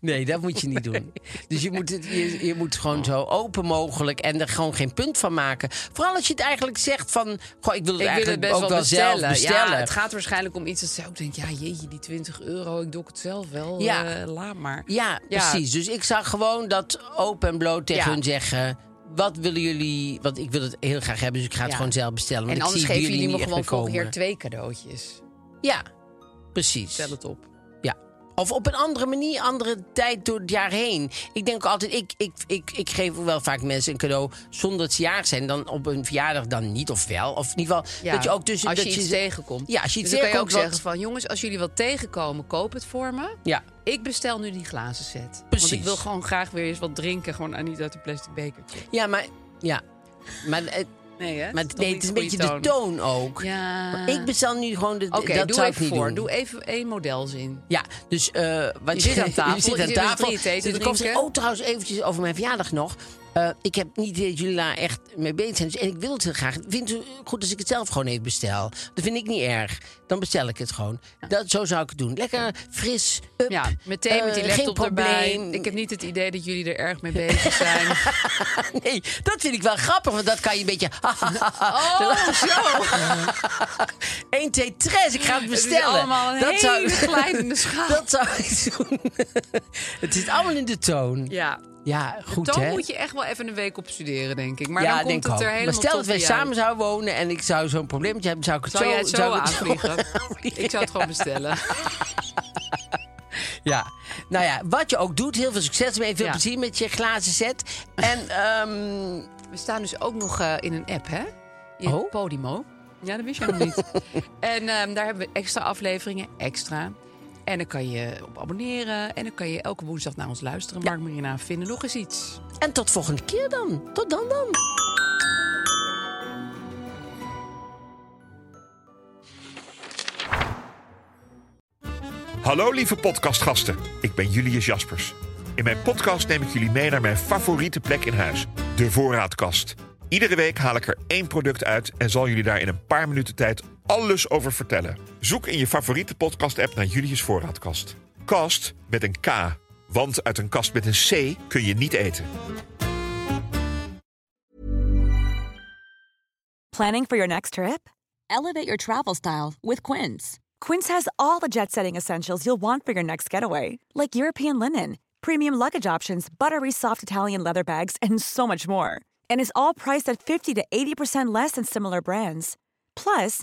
C: Nee, dat moet je niet doen. Dus je moet, het, je, je moet gewoon zo open mogelijk en er gewoon geen punt van maken. Vooral als je het eigenlijk zegt van... Goh, ik wil het
D: ik wil het
C: eigenlijk
D: best
C: ook
D: wel
C: wel
D: bestellen.
C: zelf bestellen.
D: Ja, het gaat waarschijnlijk om iets dat ze ook denkt... ja, jeetje, die 20 euro, ik doe het zelf wel.
C: Ja.
D: Ja. laat maar.
C: Ja, precies. Dus ik zou gewoon dat open en bloot tegen
D: Ja.
C: hun zeggen... Wat willen jullie... Want ik wil het heel graag hebben, dus ik ga het
D: Ja.
C: gewoon zelf bestellen. Want
D: En
C: ik
D: anders
C: zie bij
D: geven jullie me
C: niet
D: gewoon
C: echt
D: volgende keer
C: meer
D: twee cadeautjes.
C: komen. Ja, precies.
D: Stel het op.
C: Ja. Of op een andere manier, andere tijd door het jaar heen. Ik denk ook altijd, ik, ik, ik, ik geef wel vaak mensen een cadeau zonder dat ze jarig zijn. Dan op een verjaardag dan niet, of wel. Of in ieder geval,
D: Ja,
C: dat je ook tussen...
D: als je
C: dat
D: iets tegenkomt.
C: Ja, als je iets
D: dus dan kan je ook
C: tegenkomt,
D: zeggen
C: wat-
D: van... jongens, als jullie wat tegenkomen, koop het voor me.
C: Ja,
D: Ik bestel nu die glazen set.
C: Precies.
D: Want ik wil gewoon graag weer eens wat drinken. Gewoon en niet uit een plastic bekertje.
C: ja maar... Ja. Maar, eh,
D: Nee, hè?
C: maar
D: Dat is nog
C: nee, het
D: niet
C: is een
D: goede
C: beetje de toon ook.
D: Ja.
C: Maar Ik bestel nu gewoon... De,
D: Oké,
C: dat
D: doe
C: zou ik
D: even
C: niet
D: voor.
C: doen.
D: Doe even één modelzin.
C: Ja, dus eh wat
D: Je zit aan tafel,
C: je
D: je
C: zit
D: zit
C: aan
D: met
C: tafel.
D: drie thee te
C: Zit de kop-
D: drinken.
C: oh, trouwens, eventjes over mijn verjaardag nog. Eh, ik heb niet idee dat jullie daar echt mee bezig zijn. Dus, en ik wil het heel graag. Vindt u goed als ik het zelf gewoon even bestel? Dat vind ik niet erg. Dan bestel ik het gewoon. Dat, zo zou ik het doen. Lekker fris. Up.
D: Ja, meteen met die
C: Eh,
D: laptop
C: geen
D: erbij.
C: probleem.
D: Ik heb niet het idee dat jullie er erg mee
C: [LAUGHS]
D: bezig zijn.
C: Nee, dat vind ik wel grappig, want dat kan je een beetje. [LAUGHS]
D: oh, zo!
C: 1, 2, 3, ik ga het
D: Het
C: bestellen.
D: is allemaal een
C: dat
D: hele
C: zou, [LAUGHS]
D: glijdende schaal.
C: dat zou ik doen. [LAUGHS] het zit allemaal in de toon. Ja,
D: Ja,
C: goed
D: dan
C: hè?
D: moet je echt wel even een week op studeren, denk ik. Maar
C: ja,
D: dan komt
C: denk
D: het
C: ook.
D: er helemaal
C: Maar stel dat
D: tof
C: wij
D: bij
C: samen zouden wonen en ik zou zo'n probleempje hebben, zou ik het
D: Zou
C: zo,
D: jij het zo
C: zou ik het
D: [LAUGHS] aanvliegen?
C: aanvliegen.
D: Ik zou het gewoon bestellen.
C: [LAUGHS] Ja. Nou ja, wat je ook doet, heel veel succes mee, veel
D: Ja.
C: plezier met je glazen set. En ehm,
D: We staan dus ook nog eh, in een app, hè? In
C: Oh.
D: Podimo. Ja, dat wist je nog niet. [LAUGHS] en ehm, daar hebben we extra afleveringen, extra. En dan kan je op abonneren. En dan kan je elke woensdag naar ons luisteren. Mark Marina vinden nog eens iets.
C: en tot volgende keer dan. Tot dan dan.
B: Hallo lieve podcastgasten, ik ben Julius Jaspers. In mijn podcast neem ik jullie mee naar mijn favoriete plek in huis, de voorraadkast. Iedere week haal ik er één product uit en zal jullie daar in een paar minuten tijd alles over vertellen. Zoek in je favoriete podcast-app naar Julius Voorraadkast. Kast met een K, want uit een kast met een C kun je niet eten.
E: Planning for your next trip? Elevate your travel style with Quince. Quince has all the jet setting essentials you'll want for your next getaway, like European linen, premium luggage options, buttery soft Italian leather bags, and so much more. And is all priced at 50 to 80% less than similar brands. Plus,